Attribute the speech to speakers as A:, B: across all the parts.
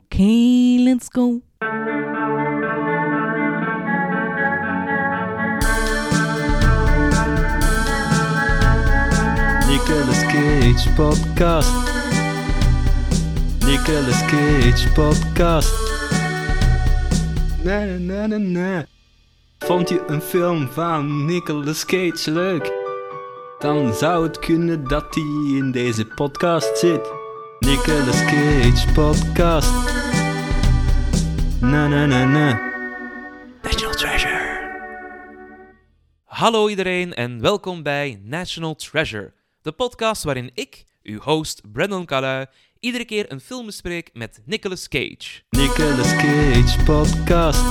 A: Okay, let's go.
B: Nicolas Cage podcast. Nicolas Cage podcast. Na na na na na. Vond je een film van Nicolas Cage leuk? Dan zou het kunnen dat hij in deze podcast zit. Nicolas Cage podcast. Na na na na. National Treasure.
C: Hallo iedereen en welkom bij National Treasure, de podcast waarin ik, uw host Brandon Calui, iedere keer een film bespreek met Nicolas Cage.
B: Nicolas Cage podcast.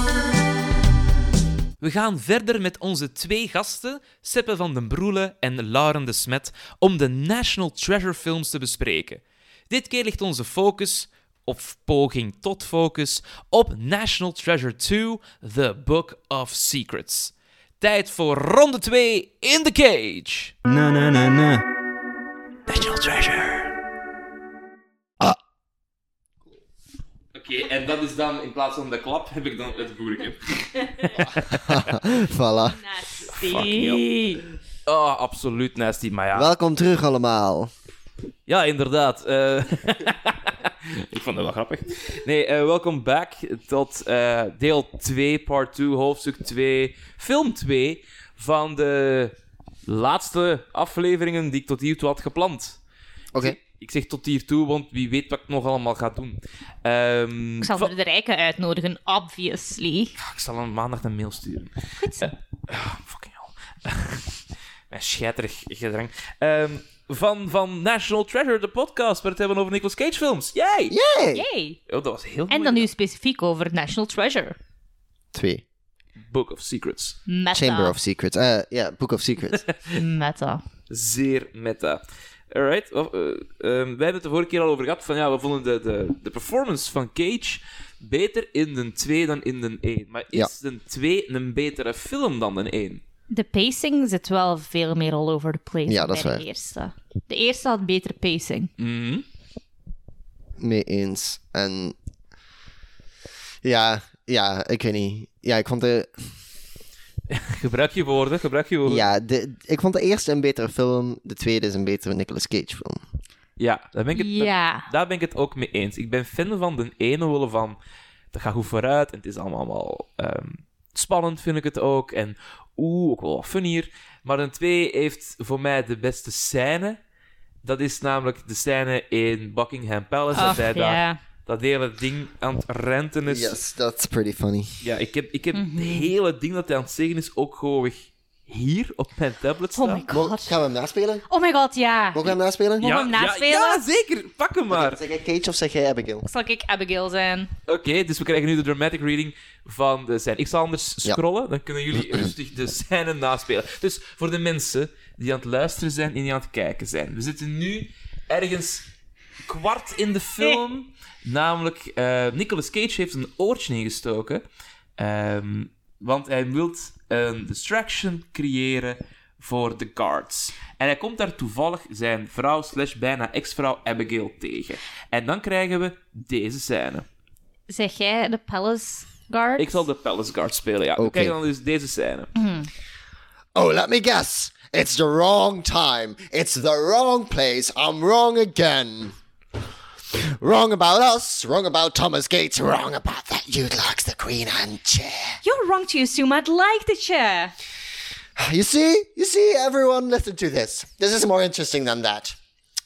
C: We gaan verder met onze twee gasten, Seppe van den Broele en Lauren de Smet, om de National Treasure films te bespreken. Dit keer ligt onze focus, of poging tot focus, op National Treasure 2, The Book of Secrets. Tijd voor ronde 2 in the cage!
B: Na na na na.
C: National Treasure. Oké, en dat is dan, in plaats van de klap, heb ik dan het boerke.
D: voilà.
A: Nasty.
C: Oh, absoluut nasty, maar ja.
D: Welkom terug allemaal.
C: Ja, inderdaad. eh. ik vond het wel grappig. Nee, eh, welkom back tot eh, deel 2, part 2, hoofdstuk 2, film 2 van de laatste afleveringen die ik tot hiertoe had gepland.
D: Oké.
C: Ik zeg tot hiertoe, want wie weet wat ik nog allemaal ga doen. Ehm,
A: Ik
C: va-
A: zal de rijken uitnodigen, obviously.
C: Ik zal hem maandag een mail sturen.
A: Goed zo.
C: Ah, fucking hell. Mijn scheiterig gedrang. Ehm, van, van National Treasure, de podcast, waar we het hebben over Nicolas Cage films. Yay!
D: Yay!
A: Yay.
C: Oh, dat was heel
A: En dan nu specifiek over National Treasure.
D: Twee.
C: Book of Secrets.
A: Meta.
D: Chamber of Secrets. Eh, ja, Book of Secrets.
A: Meta.
C: Zeer meta. Alright. Of, eh, ehm, wij hebben het de vorige keer al over gehad. Van, ja, we vonden de, de, de performance van Cage beter in de 2 dan in de 1. Maar is de 2 een betere film dan de 1?
A: De pacing zit wel veel meer all over the place
D: Ja,
A: dan
D: dat is
A: bij de
D: waar.
A: eerste. De eerste had betere pacing.
D: Mee eens. En ja, ja, ik weet niet. Ja, ik vond de,
C: Gebruik je woorden, gebruik je woorden.
D: ja, de, ik vond de eerste een betere film. De tweede is een betere Nicolas Cage film.
C: Ja, daar ben ik het,
A: Ja.
C: daar ben ik het ook mee eens. Ik ben fan van de ene willen van. Dat gaat goed vooruit en het is allemaal wel ehm, spannend, vind ik het ook. En oeh, ook wel wat funnier. Maar de twee heeft voor mij de beste scène. Dat is namelijk de scène in Buckingham Palace. dat
A: Ach,
C: zij daar
A: ja.
C: dat hele ding aan het renten is.
D: Yes, that's pretty funny.
C: Ja, ik heb, ik heb
A: Mhm.
C: het hele ding dat hij aan het zeggen is ook gewoon hier op mijn tablet staan.
A: Oh my
D: Mo-
A: god.
D: gaan we hem naspelen? Mogen
A: Oh my god, ja.
D: we hem naspelen?
A: Mogen we hem
C: ja,
A: naspelen?
C: ja, zeker. Pak hem maar.
D: Zeg jij Cage of zeg jij Abigail?
A: Zal ik Abigail zijn?
C: Oké, dus we krijgen nu de dramatic reading van de scène. Ik zal anders scrollen, dan kunnen jullie rustig de scène naspelen. Dus voor de mensen die aan het luisteren zijn en die aan het kijken zijn. We zitten nu ergens kwart in de film. Namelijk, eh, Nicolas Cage heeft een oortje ingestoken. ehm, want hij wil een distraction creëren voor de guards. En hij komt daar toevallig zijn vrouw slash bijna ex-vrouw Abigail tegen. En dan krijgen we deze scène.
A: Zeg jij de Palace Guard?
C: Ik zal de Palace Guard spelen, ja.
D: Oké.
C: Kijk dan dus deze scène.
D: Oh, let me guess. It's the wrong time. It's the wrong place. I'm wrong again. Wrong about us. Wrong about Thomas Gates. Wrong about that you likes the Queen and chair.
A: You're wrong to assume I'd like the chair.
D: You see? You see, everyone, listen to this. This is more interesting than that.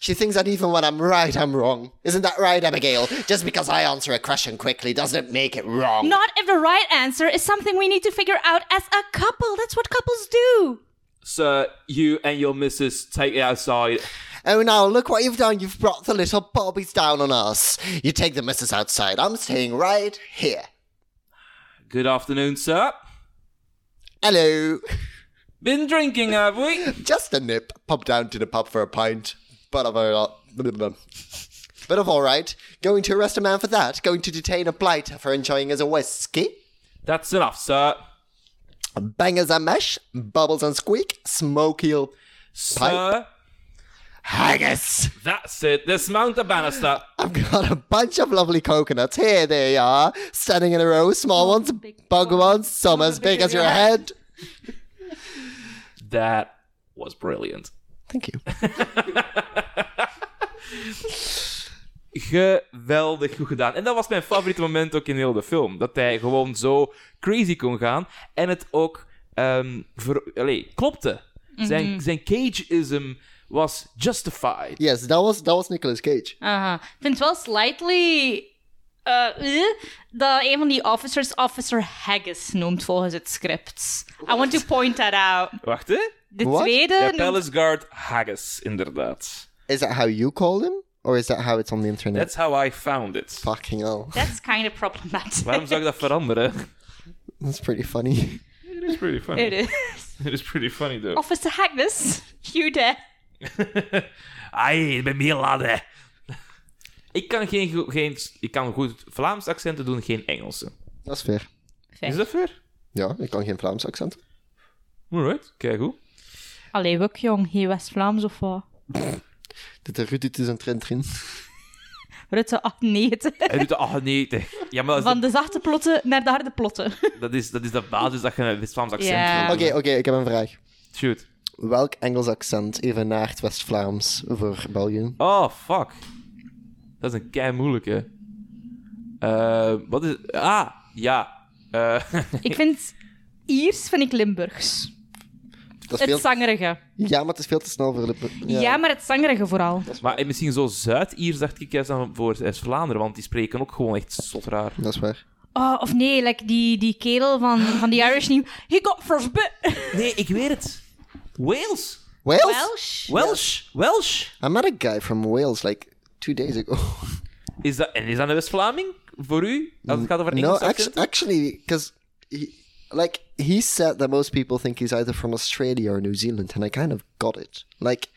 D: She thinks that even when I'm right, I'm wrong. Isn't that right, Abigail? Just because I answer a question quickly doesn't make it
C: Oh.
D: wrong.
A: Not if the right answer is something we need to figure out as a couple. That's what couples do.
C: Sir, you and your missus, take it outside.
D: Oh now look what you've done. You've brought the little bobbies down on us. You take the missus outside. I'm staying right here.
C: Good afternoon, sir.
D: Hello.
C: Been drinking, have we?
D: Just a nip. Pop down to the pub for a pint. But of a Bit of all right. Going to arrest a man for that. Going to detain a blighter for enjoying his whiskey.
C: That's enough, sir.
D: Bangers and mash. Bubbles and squeak. Smoky.
C: Sir,
D: haggis.
C: That's it. Dismount the banister.
D: I've got a bunch of lovely coconuts. Here they are, standing in a row. Small ones,
A: big
D: bug
A: ones,
D: ones, some as big as your head.
C: That was brilliant.
D: Thank you.
C: Geweldig goed gedaan. En dat was mijn favoriete moment ook in heel de film. Dat hij gewoon zo crazy kon gaan. En het ook ehm, ver- allee, klopte. Zijn, zijn cageism was justified.
D: Yes, that was that was Nicolas Cage.
A: Aha. Ah, Ik vind het wel slightly... eh, eh, dat een van die officers Officer Haggis noemt volgens het script. I want to point that out.
C: Wacht, hè?
A: De
D: What?
A: tweede...
C: Ja,
A: noemt-
C: Palace Guard Haggis, inderdaad.
D: Is that how you called him, or is that how it's on the internet?
C: That's how I found it.
D: fucking hell.
A: That's kind of problematic.
C: Waarom zou ik dat veranderen?
D: That's pretty funny.
C: It is pretty funny.
A: It is.
C: It is pretty funny, though.
A: Officer Haggis, you there.
C: Ai, ik ben meer laden. Ik kan, geen, go- geen, ik kan goed Vlaams accenten doen, geen Engelse.
D: Dat is fair.
C: Is dat fair?
D: Ja, ik kan geen Vlaams accent.
C: Alright, kijk hoe.
A: Allee, ook jong, hier West-Vlaams of wat?
D: Dit is Ruud, dit is een trend erin.
A: Rutte 98.
C: Hij doet de 98. Ja, maar dat
A: Van
C: is,
A: de zachte plotten naar de harde plotten.
C: de, dat is, dat is de basis dat je een West-Vlaams accent
A: Ja.
C: wil
D: Oké,
C: doen.
D: oké, ik heb een vraag.
C: Shoot.
D: Welk Engels accent evenaart West-Vlaams voor België?
C: Oh, fuck. Dat is een kei moeilijke. Eh, wat is. Ah, ja. Eh,
A: Ik vind... Iers vind ik Limburgs.
D: Dat is
A: Het
D: veel...
A: zangerige.
D: Ja, maar het is veel te snel voor de...
A: Ja. maar het zangerige vooral.
C: maar eh, misschien zo Zuid-Iers dacht ik juist dan voor West-Vlaanderen, want die spreken ook gewoon echt zot raar.
D: Dat is waar.
A: Oh, of nee, like die, die kerel van, van die Irish Neem. He got frostbite.
C: Nee, ik weet het. Wales.
D: Wales?
A: Welsh?
C: Welsh. Welsh.
D: I met a guy from Wales like two days ago.
C: Is dat, en is dat een West-Vlaming voor u? Als het gaat over
D: Mm, no,
C: Engels
D: actu-
C: accenten?
D: actually, because he, like he said that most people think he's either from Australia or New Zealand, and I kind of got it. Like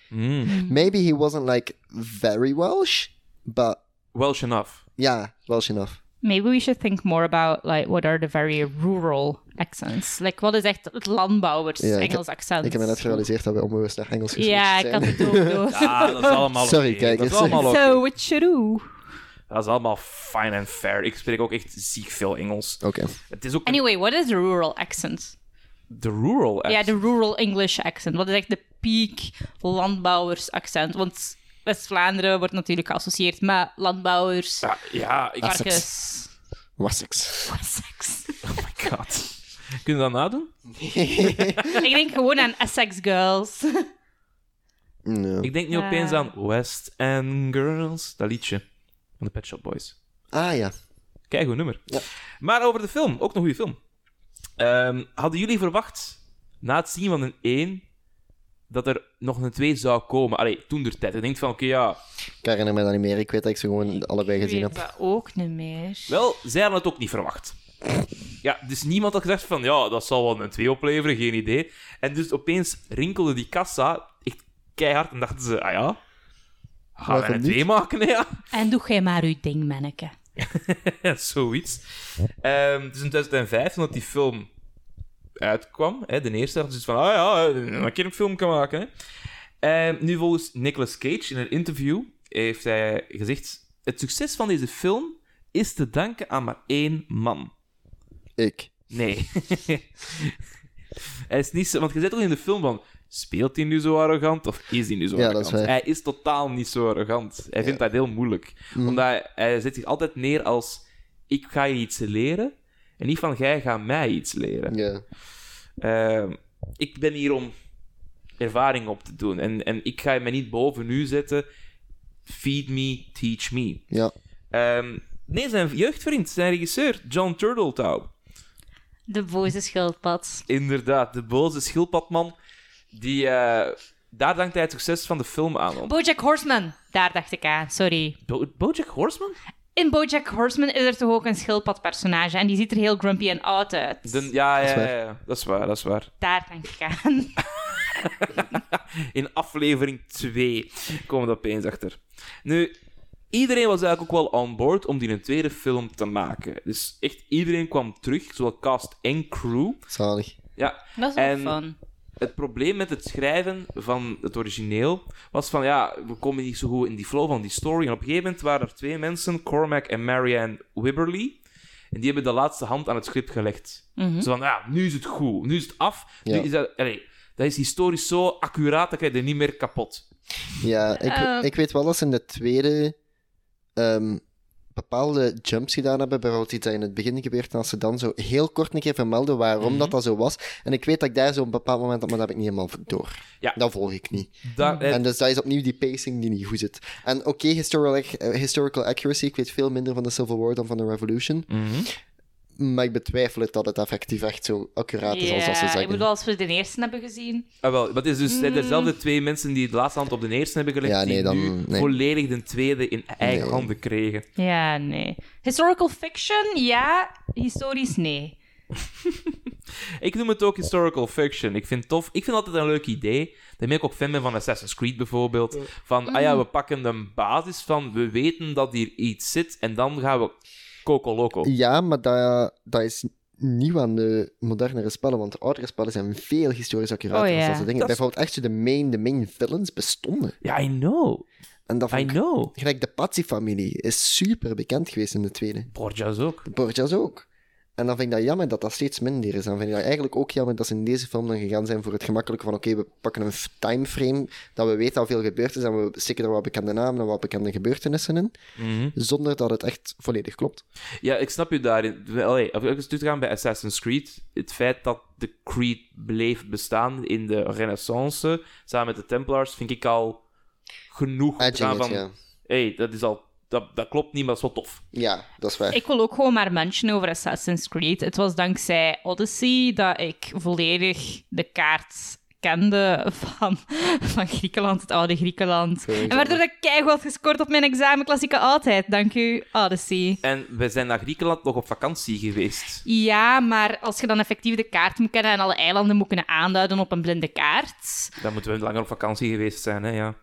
D: maybe he wasn't like very Welsh, but
C: Welsh enough.
D: yeah, Welsh enough.
A: Maybe we should think more about like what are the very rural accents. Like wat is echt het landbouwers
D: Ja, ik-
A: Engels accent?
D: Ik heb me net gerealiseerd dat we onbewust naar Engels geswitcht
A: ja, ik
D: zijn.
A: had het ook door.
C: Ah, dat is allemaal
D: Sorry,
C: oké.
D: kijkers.
C: Dat is allemaal oké.
A: So, what you do?
C: Dat is allemaal fine and fair. Ik spreek ook echt ziek veel Engels.
D: Oké.
C: Het is ook
A: Anyway, what is the rural accent?
C: de rural
A: Ja,
C: accent.
A: de rural English accent. Wat is echt de peak landbouwers accent? Want West-Vlaanderen wordt natuurlijk geassocieerd met landbouwers,
C: Ja, Ah, ja, ik...
D: Accent.
A: varkens,
D: Wessex.
A: seks.
C: Oh my god. Kunnen we dat nadoen?
A: Ik denk gewoon aan Essex Girls.
D: No.
C: Ik
A: Eh.
C: denk nu opeens aan West End Girls. Dat liedje van de Pet Shop Boys.
D: Ah ja.
C: Kijk, goed nummer. Maar over de film. Ook een goede film. Ehm, hadden jullie verwacht, na het zien van een 1, dat er nog een 2 zou komen? Allee, toen der tijd. Ik denk van, oké, ja...
D: Ik herinner me dat niet meer. Ik weet dat ik ze gewoon allebei gezien heb.
A: dat ook niet meer.
C: Wel, zij hadden het ook niet verwacht. Ja, dus niemand had gedacht van, ja, dat zal wel een 2 opleveren, geen idee. En dus opeens rinkelde die kassa echt keihard en dachten ze, ah ja, gaan we
D: Waarom
C: een
D: niet?
C: 2 maken, hè, ja.
A: En doe jij maar uw ding, manneke.
C: Ja, zoiets. Ehm, dus in 2005, toen dat die film uitkwam, hè, de eerste, dachten ze van, ah ja, een keer een film kan maken. Hè. Ehm, nu volgens Nicolas Cage, in een interview, heeft hij gezegd, het succes van deze film is te danken aan maar één man.
D: Ik.
C: Nee. hij is niet zo... Want je zit al in de film van... Speelt hij nu zo arrogant of is hij nu zo
D: Ja, dat
C: arrogant?
D: is waar.
C: Hij is totaal niet zo arrogant. Hij vindt dat heel moeilijk.
D: Mm.
C: Omdat hij, hij zet zich altijd neer als... Ik ga je iets leren. En niet van, jij gaat mij iets leren.
D: Ja.
C: Ehm, ik ben hier om ervaring op te doen. En, en ik ga me niet boven u zetten. Feed me, teach me.
D: Ja.
C: Ehm, nee, zijn jeugdvriend, zijn regisseur, John Turteltaub.
A: De boze schildpad.
C: Inderdaad, de boze schildpadman. Die, eh, daar dankt hij het succes van de film aan. Om.
A: Bojack Horseman. Daar dacht ik aan, sorry.
C: Bo- Bojack Horseman?
A: In Bojack Horseman is er toch ook een schildpadpersonage en die ziet er heel grumpy en oud uit.
C: De- ja, ja,
D: is waar.
C: ja, ja, dat is waar, dat is waar.
A: Daar denk ik aan.
C: In aflevering 2 komen we er opeens achter. Nu, iedereen was eigenlijk ook wel on board om die een tweede film te maken. Dus echt iedereen kwam terug, zowel cast en crew.
D: Zalig.
C: Ja,
A: Dat is
C: En-
A: wel fun.
C: het probleem met het schrijven van het origineel was van ja, we komen niet zo goed in die flow van die story. En op een gegeven moment waren er twee mensen, Cormac en Marianne Wibberly. En die hebben de laatste hand aan het script gelegd. Zo van, ja, nu is het goed. Nu is het af.
D: Ja.
C: Nu is dat, allee, dat is historisch zo accuraat, dat krijg je er niet meer kapot.
D: Ja, ik,
A: Ehm.
D: ik weet wel dat ze in de tweede ehm, bepaalde jumps gedaan hebben. Bijvoorbeeld iets dat in het begin gebeurt. En als ze dan zo heel kort een keer vermelden waarom
A: Mhm.
D: dat dat zo was. En ik weet dat ik daar zo op een bepaald moment op, maar dat heb ik niet helemaal door.
C: Ja.
D: Dat volg ik niet.
C: Dat, eh,
D: En dus dat is opnieuw die pacing die niet goed zit. En oké, historical, eh, historical accuracy. Ik weet veel minder van de Civil War dan van de Revolution.
C: mhm.
D: Maar ik betwijfel het dat het effectief echt zo accuraat is als dat ze
A: Ja, ik bedoel,
D: zeggen.
A: als we de eerste hebben gezien.
C: Ah, wel, dat is dus zijn dezelfde twee mensen die de laatste hand op de eerste hebben gelegd,
D: Ja, nee,
C: die
D: dan-
C: nu
D: nee.
C: volledig de tweede in eigen
D: Nee.
C: handen kregen.
A: Ja, nee. Historical fiction, ja. Historisch, nee.
C: Ik noem het ook historical fiction. Ik vind het tof. Ik vind altijd een leuk idee. Daarmee ik ook fan ben van Assassin's Creed bijvoorbeeld. Van, ah ja, we pakken een basis van, we weten dat hier iets zit, en dan gaan we coco loco.
D: Ja, maar dat, dat is nieuw aan de modernere spellen, want de oudere spellen zijn veel historisch accurater
A: Oh,
D: als
A: ja.
D: dat soort dingen.
C: Dat is-
D: Bijvoorbeeld echt zo de main, de main villains bestonden.
C: Ja, I know.
D: En dat
C: I
D: vond ik-
C: know.
D: Gelijk de Pazzi-familie is super bekend geweest in de tweede.
C: Borgia's ook.
D: De Borgias ook. En dan vind ik dat jammer dat dat steeds minder is. Dan vind ik dat eigenlijk ook jammer dat ze in deze film dan gegaan zijn voor het gemakkelijke van oké, we pakken een f- timeframe dat we weten dat veel gebeurd is en we steken er wat bekende namen en wat bekende gebeurtenissen in,
C: Mhm.
D: zonder dat het echt volledig klopt.
C: Ja, ik snap je daarin. Allee, als ik eens terug gaan bij Assassin's Creed, het feit dat de Creed bleef bestaan in de Renaissance, samen met de Templars, vind ik al genoeg. om te
D: Edging
C: gaan
D: it,
C: van,
D: ja.
C: hey, dat is al... Dat, dat klopt niet, maar dat is wel tof.
D: Ja, dat is waar.
A: Ik wil ook gewoon maar mentionen over Assassin's Creed. Het was dankzij Odyssey dat ik volledig de kaart kende van, van Griekenland, het oude Griekenland. En waardoor ik keihard had gescoord op mijn examen klassieke oudheid. Dank u, Odyssey.
C: En we zijn naar Griekenland nog op vakantie geweest.
A: Ja, maar als je dan effectief de kaart moet kennen en alle eilanden moet kunnen aanduiden op een blinde kaart.
C: Dan moeten we langer op vakantie geweest zijn, hè, ja.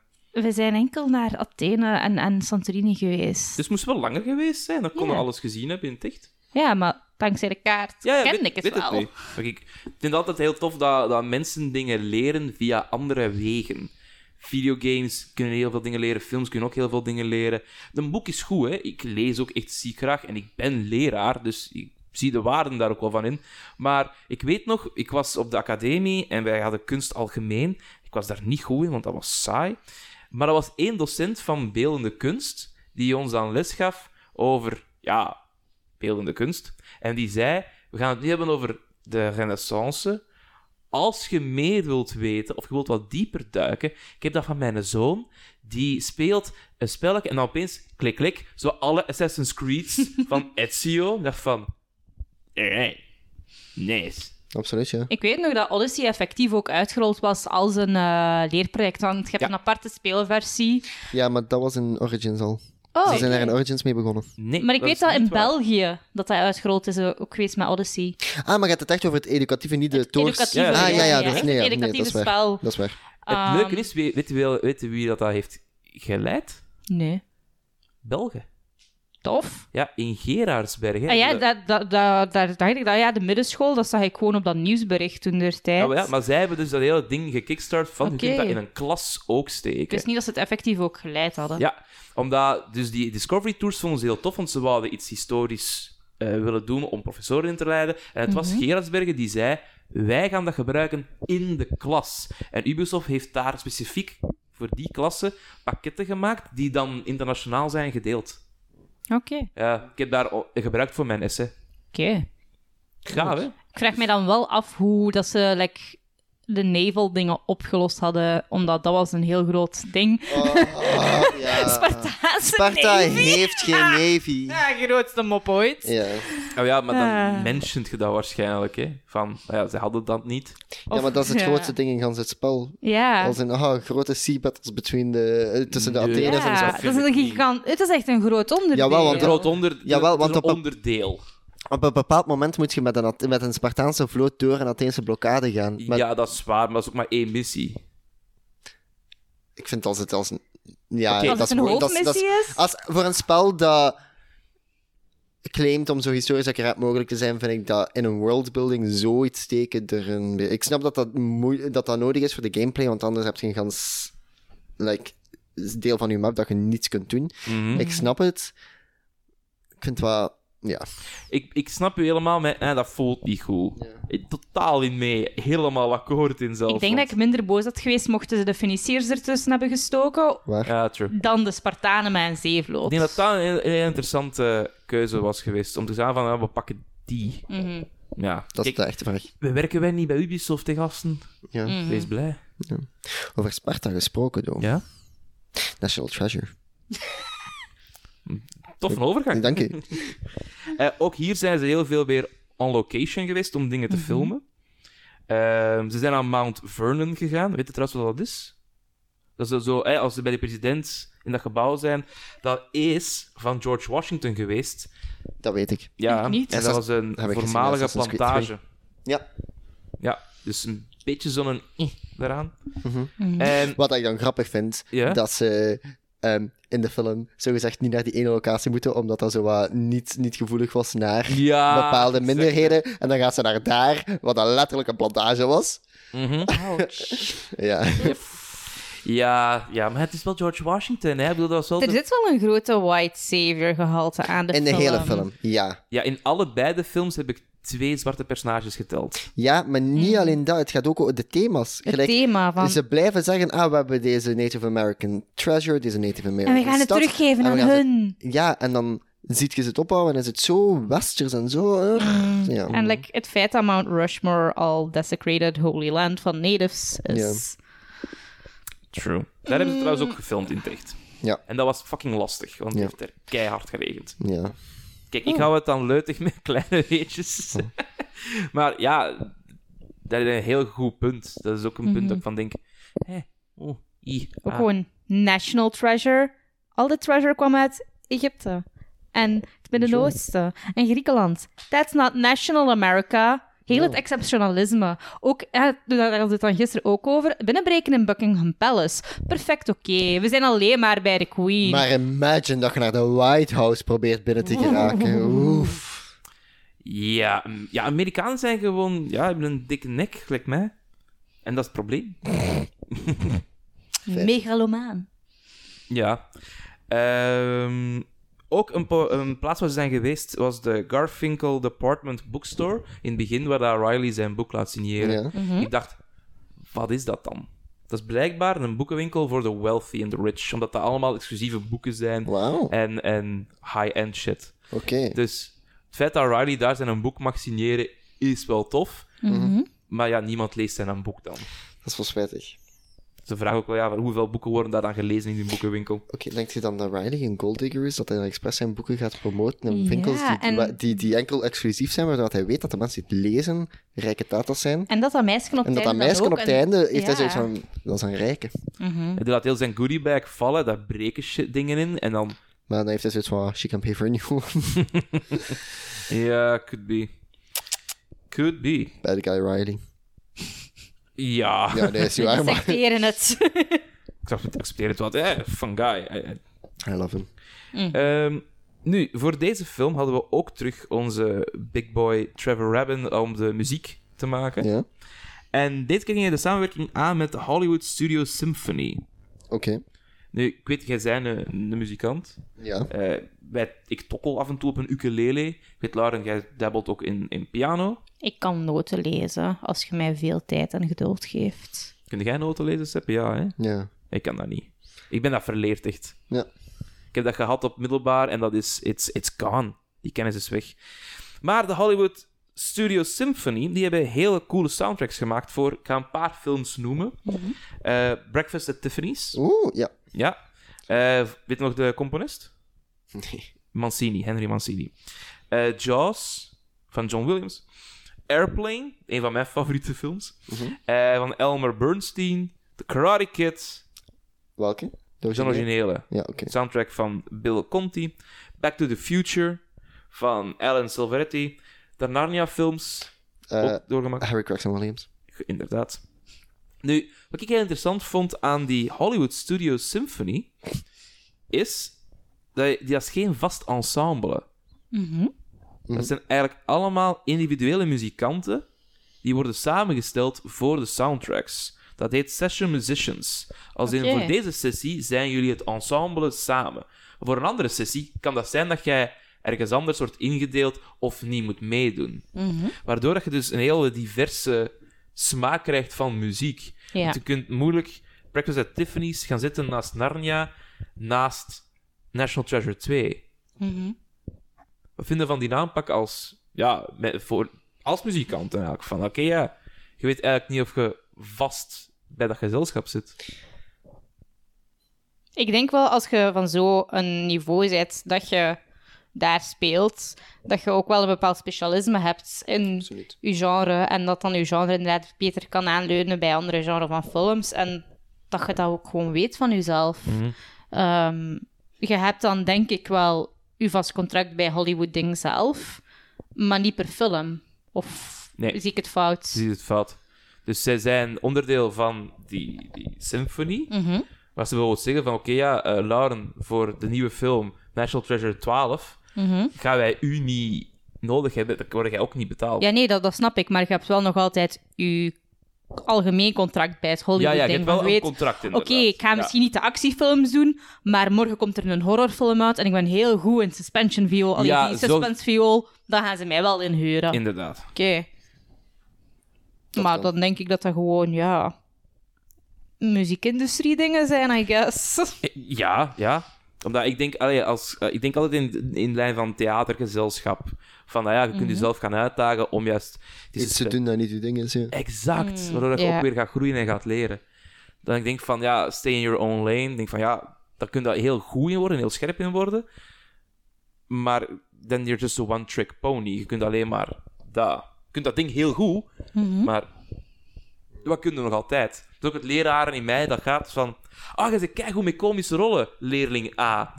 A: We zijn enkel naar Athene en, en Santorini geweest.
C: Dus moesten we langer geweest zijn, dan konden we
A: Ja.
C: alles gezien hebben in het echt.
A: Ja, maar dankzij de kaart
C: Ja, ja,
A: kende
C: weet-
A: ik het
C: weet
A: wel.
C: niet. Maar ik vind het altijd heel tof dat, dat mensen dingen leren via andere wegen. Videogames kunnen heel veel dingen leren, films kunnen ook heel veel dingen leren. Een boek is goed, hè. Ik lees ook echt ziek graag en ik ben leraar, dus ik zie de waarden daar ook wel van in. Maar ik weet nog, ik was op de academie en wij hadden kunst algemeen. Ik was daar niet goed in, want dat was saai. Maar er was één docent van beeldende kunst die ons dan les gaf over, ja, beeldende kunst. En die zei: We gaan het nu hebben over de Renaissance. Als je meer wilt weten, of je wilt wat dieper duiken. Ik heb dat van mijn zoon. Die speelt een spelletje en dan opeens klik, klik. Zo alle Assassin's Creeds van Ezio. Ik dacht van. Hey, nice.
D: Absoluut, ja.
A: Ik weet nog dat Odyssey effectief ook uitgerold was als een eh, leerproject. Want je hebt
C: Ja.
A: een aparte speelversie.
D: Ja, maar dat was in Origins al.
A: Oh,
D: Ze zijn daar in Origins mee begonnen.
C: Nee,
A: Maar ik weet
C: is
A: dat
C: niet
A: in
C: waar.
A: België dat dat uitgerold is eh, ook geweest met Odyssey.
D: Ah, maar gaat het echt over het educatieve, niet de tours?
A: educatieve,
D: ah, ja,
A: ja,
D: ja,
A: ja,
D: dat is,
A: echt
D: nee, ja,
A: het
D: nee, dat is
A: educatieve
D: waar.
A: spel.
D: Dat is waar.
C: Het
A: Ehm,
C: leuke is, wie- weet u wel- weet u wie dat, dat heeft geleid?
A: Nee.
C: Belgen.
A: Tof.
C: Ja, in Gerardsbergen.
A: Ah, ja,
C: De-
A: dat, dat, dat, daar dacht ik dat. Ja, de middenschool, dat zag ik gewoon op dat nieuwsbericht toen
D: Oh,
A: der tijd.
C: Ja, maar, ja, maar zij hebben dus dat hele ding gekickstart van je kunt
A: Oké.
C: dat in een klas ook
A: Ik
C: steken.
A: wist niet dat ze het effectief ook geleid hadden.
C: Ja, omdat dus die Discovery Tours vonden ze heel tof, want ze wilden iets historisch eh, willen doen om professoren in te leiden. En het was Gerardsbergen die zei, wij gaan dat gebruiken in de klas. En Ubisoft heeft daar specifiek voor die klassen pakketten gemaakt die dan internationaal zijn gedeeld.
A: Oké.
C: Ja, ik heb daar o- gebruikt voor mijn essay.
A: Oké.
C: Gaaf, hè?
A: Ik vraag mij dan wel af hoe dat ze like, de naval dingen opgelost hadden, omdat dat was een heel groot ding.
D: Oh,
A: Spartaanse
D: Sparta
A: navy. Ah.
D: heeft geen navy.
A: Ja, grootste mop ooit.
D: Ja.
C: Oh ja, maar dan
A: Ah.
C: mentioned je dat waarschijnlijk, hè? Van, nou ja, ze hadden dat niet.
D: ja, maar dat is het grootste ding in gans het spel.
A: Ja.
D: Als in, ah, grote sea battles between de, eh, tussen de
C: Ja.
D: Athene's
A: Ja,
D: en zo.
A: dat is een gigant... Het is echt een groot onderdeel.
D: Jawel, want
C: Een
D: dat-
C: groot onder...
D: Jawel,
C: het is
D: want
C: een
D: op een-
C: onderdeel.
D: Op een bepaald moment moet je met een, Athe- met een Spartaanse vloot door een Atheense blokkade gaan. Maar
C: Ja, dat is waar, maar dat is ook maar één missie.
D: ik vind als het als een... Ja,
C: Oké.
A: Als
D: dat
A: het
D: is
A: een
D: mooi. Dat is- dat is-
A: hoofdmissie is...
D: Als, voor een spel dat geclaimd om zo historisch accuraat mogelijk te zijn, vind ik dat in een worldbuilding zoiets steken er een... be- Ik snap dat dat, moe- dat dat nodig is voor de gameplay, want anders heb je een gans... Like, deel van je map dat je niets kunt doen.
C: Mhm.
D: Ik snap het. Ik vind het wel... Ja.
C: Ik, ik snap u helemaal, maar eh, dat voelt niet goed. Ik- Totaal in mee. Helemaal akkoord in zelf.
A: Ik denk dat ik minder boos had geweest mochten ze de Feniciërs ertussen hebben gestoken
D: Waar?
C: Ja, true.
A: dan de Spartanen met een zeevloot.
C: Ik denk dat dat een heel, heel interessante keuze was geweest. Om te zeggen van, ja, we pakken die.
A: Mhm.
C: Ja.
D: Dat is
C: Kijk,
D: de echte vraag.
C: we werken wij niet bij Ubisoft, hè, gasten?
D: Ja.
C: Wees blij.
D: Over Sparta gesproken, door
C: Mm. Ja?
D: National Treasure.
C: Tof een overgang.
D: Dank je.
C: Eh, ook hier zijn ze heel veel weer on location geweest om dingen te
A: Mhm.
C: filmen. Ehm, ze zijn aan Mount Vernon gegaan. Weet je trouwens wat dat is? Dat is zo, eh, als ze bij de president in dat gebouw zijn, dat is van George Washington geweest.
D: Dat weet ik.
C: Ja,
A: Ik niet.
C: en dat was een
D: gezien bij
C: voormalige
D: Assassin's Creed
C: plantage.
D: Ja.
C: Ja, dus een beetje zo'n eh daaraan.
D: Mhm.
A: Mhm.
C: En
D: Wat ik dan grappig vind,
C: Ja?
D: dat ze ehm, in de film zogezegd niet naar die ene locatie moeten, omdat dat zo wat niet, niet gevoelig was naar
C: ja,
D: bepaalde
C: zeg-
D: minderheden. En dan gaat ze naar daar, wat dan letterlijk een plantage was.
C: Mhm.
D: Ja.
C: ja, ja, maar het is wel George Washington, hè? Ik bedoel, dat was wel
A: Er
C: de-
A: zit wel een grote white savior gehalte aan de
D: In de
A: film.
D: hele film, ja.
C: Ja, in allebei de films heb ik twee zwarte personages geteld.
D: Ja, maar niet alleen dat, het gaat ook over de thema's.
A: Het
D: Gelijk,
A: thema van...
D: Ze blijven zeggen, ah, we hebben deze Native American treasure, deze Native American
A: En we gaan het
D: stad,
A: teruggeven
D: en we
A: aan
D: gaan ze-
A: hun.
D: Ja, en dan ziet je ze het opbouwen en is het zo westers en zo. eh, Ja.
A: Mm. En like, het feit dat Mount Rushmore al desecrated holy land van natives is...
C: True. Daar hebben
A: Mm.
C: ze trouwens ook gefilmd in Tricht.
D: Ja.
C: En dat was fucking lastig, want het
D: Ja.
C: heeft er keihard geregend.
D: ja.
C: Kijk,
A: Oh.
C: ik hou het dan leutig met kleine weetjes.
D: Oh.
C: maar ja, dat is een heel goed punt. Dat is ook een punt dat ik van denk... Hé, oh, i,
A: Mhm. Ook
C: ah.
A: gewoon national treasure. Al de treasure kwam uit Egypte. En het Midden-Oosten. En Griekenland. That's not national America. Heel het exceptionalisme. Ook, eh, daar hadden we het dan gisteren ook over. Binnenbreken in Buckingham Palace. Perfect oké. We zijn alleen maar bij de Queen.
D: Maar imagine dat je naar de White House probeert binnen te geraken. Oef.
C: Ja, mm, ja, Amerikanen zijn gewoon... Ja, hebben een dikke nek, gelijk mij. En dat is het probleem.
A: Megalomaan.
C: Ja. Ehm, ook een, po- een plaats waar ze zijn geweest was de Garfinkel Department Bookstore. In het begin waar daar Riley zijn boek laat signeren.
D: Ja.
C: Ik dacht, wat is dat dan? Dat is blijkbaar een boekenwinkel voor de wealthy en de rich. Omdat dat allemaal exclusieve boeken zijn.
D: Wauw.
C: En, en high-end shit.
D: Oké.
C: Dus het feit dat Riley daar zijn een boek mag signeren is wel tof. Maar ja, niemand leest zijn een boek dan.
D: Dat is wel spijtig.
C: Ze vragen ook wel, ja, hoeveel boeken worden daar dan gelezen in die boekenwinkel?
D: Oké, denkt je dan dat Riley een golddigger is? Dat hij dan expres zijn boeken gaat promoten in
A: Ja,
D: winkels die,
A: en-
D: wa- die, die enkel exclusief zijn, waardoor hij weet dat de mensen die het lezen rijke tatels zijn.
A: En dat dat meisje op het
D: En dat
A: einde
D: dat
A: dan
D: meisje
A: ook
D: op het
A: een-
D: einde heeft hij
A: Ja.
D: zoiets van, dat is een rijke.
C: Hij laat heel zijn goodiebag vallen, daar breken shit dingen in. En dan,
D: Maar dan heeft hij zoiets van, ah, she can pay for a new one.
C: ja, could be. Could be.
D: Bad guy Riley.
C: Ja.
D: Ja, nee, is niet
A: We
D: waar, maar
A: dissecteren het.
C: Ik snap het, ik accepteer het wat. Eh, fun guy. Eh, eh.
D: I love him.
C: Ehm, nu, voor deze film hadden we ook terug onze big boy Trevor Rabin om de muziek te maken.
D: Ja, oké.
C: En dit keer ging hij de samenwerking aan met de Hollywood Studio Symphony. Nu, ik weet, jij bent een, een muzikant.
D: Ja.
C: Eh, wij, ik tokkel af en toe op een ukulele. Ik weet, Lauren, jij dabbelt ook in, in piano.
A: Ik kan noten lezen als je mij veel tijd en geduld geeft.
C: Kun jij noten lezen, Sepp? Ja, hè?
D: Ja.
C: Ik kan dat niet. Ik ben dat verleerd, echt.
D: Ja.
C: Ik heb dat gehad op middelbaar en dat is... It's, it's gone. Die kennis is weg. Maar de Hollywood Studio Symphony, die hebben hele coole soundtracks gemaakt voor... Ik ga een paar films noemen. Eh, Breakfast at Tiffany's.
D: Oeh, ja.
C: Ja. Eh, weet je nog de componist?
D: Nee.
C: Mancini, Henry Mancini. Eh, Jaws, van John Williams. Airplane, een van mijn favoriete films. Eh, van Elmer Bernstein. The Karate Kid,
D: Welke? De
C: zijn
D: originele?
C: originele.
D: Ja, oké.
C: Soundtrack van Bill Conti. Back to the Future van Alan Silveretti. De Narnia-films,
D: Eh,
C: ook doorgemaakt.
D: Harry Gregson Williams.
C: Inderdaad. Nu, wat ik heel interessant vond aan die Hollywood Studio Symphony, is dat je- die is geen vast ensemble. Dat zijn eigenlijk allemaal individuele muzikanten die worden samengesteld voor de soundtracks. Dat heet Session Musicians. Als in
A: Oké.
C: voor deze sessie zijn jullie het ensemble samen. Voor een andere sessie kan dat zijn dat jij ergens anders wordt ingedeeld of niet moet meedoen. Waardoor dat je dus een hele diverse smaak krijgt van muziek.
A: Ja.
C: Want je kunt moeilijk Breakfast at Tiffany's gaan zitten naast Narnia, naast National Treasure 2.
A: Mhm.
C: Wat vinden van die aanpak als, ja, met, voor, als muzikant dan eigenlijk? Van oké, ja, je weet eigenlijk niet of je vast bij dat gezelschap zit.
A: Ik denk wel als je van zo'n niveau zit dat je daar speelt, dat je ook wel een bepaald specialisme hebt in
D: Absoluut.
A: je genre. En dat dan je genre inderdaad beter kan aanleunen bij andere genres van films. En dat je dat ook gewoon weet van jezelf. Ehm, je hebt dan denk ik wel je vast contract bij Hollywood Ding zelf, maar niet per film. Of
C: Nee.
A: zie ik het fout?
C: Je ziet het fout. Dus zij zijn onderdeel van die, die symphony.
A: Mhm.
C: Maar ze willen zeggen van oké, ja, eh, Lauren, voor de nieuwe film National Treasure 12
A: Mhm.
C: gaan wij u niet nodig hebben. Dan word jij ook niet betaald.
A: Ja, nee, dat, dat snap ik. Maar je hebt wel nog altijd je algemeen contract bij het
C: ja,
A: Hollywood
C: ja, je
A: ding.
C: hebt wel
A: van
C: een
A: weet,
C: contract
A: Oké,
C: inderdaad.
A: ik ga
C: Ja.
A: misschien niet de actiefilms doen, maar morgen komt er een horrorfilm uit en ik ben heel goed in suspension viool. Allee,
C: Ja,
A: die
C: zo-
A: suspense viool, dan gaan ze mij wel inhuren.
C: Inderdaad.
A: Oké.
D: Dat
A: Maar
D: kan.
A: dan denk ik dat dat gewoon, ja... Muziekindustrie dingen zijn, I guess.
C: Eh, Ja, ja. Omdat ik denk, allee, als, eh, ik denk altijd in, in lijn van theatergezelschap. Van, nou ja, je kunt
A: Mhm.
C: jezelf gaan uitdagen om juist... die
D: Iets te
C: suspen-
D: doen dat niet uw ding is. Ja.
C: Exact. Waardoor je
A: ja.
C: ook weer gaat groeien en gaat leren. Dan ik denk van, ja, stay in your own lane. Ik denk van, ja, daar kun je heel goed in worden, heel scherp in worden. Maar then you're just a one-trick pony. Je kunt alleen maar dat... Je kunt dat ding heel goed, maar wat kun je nog altijd? Dat is ook het leraren in mij dat gaat van... Ah, je zegt, kijk hoe met komische rollen, leerling A.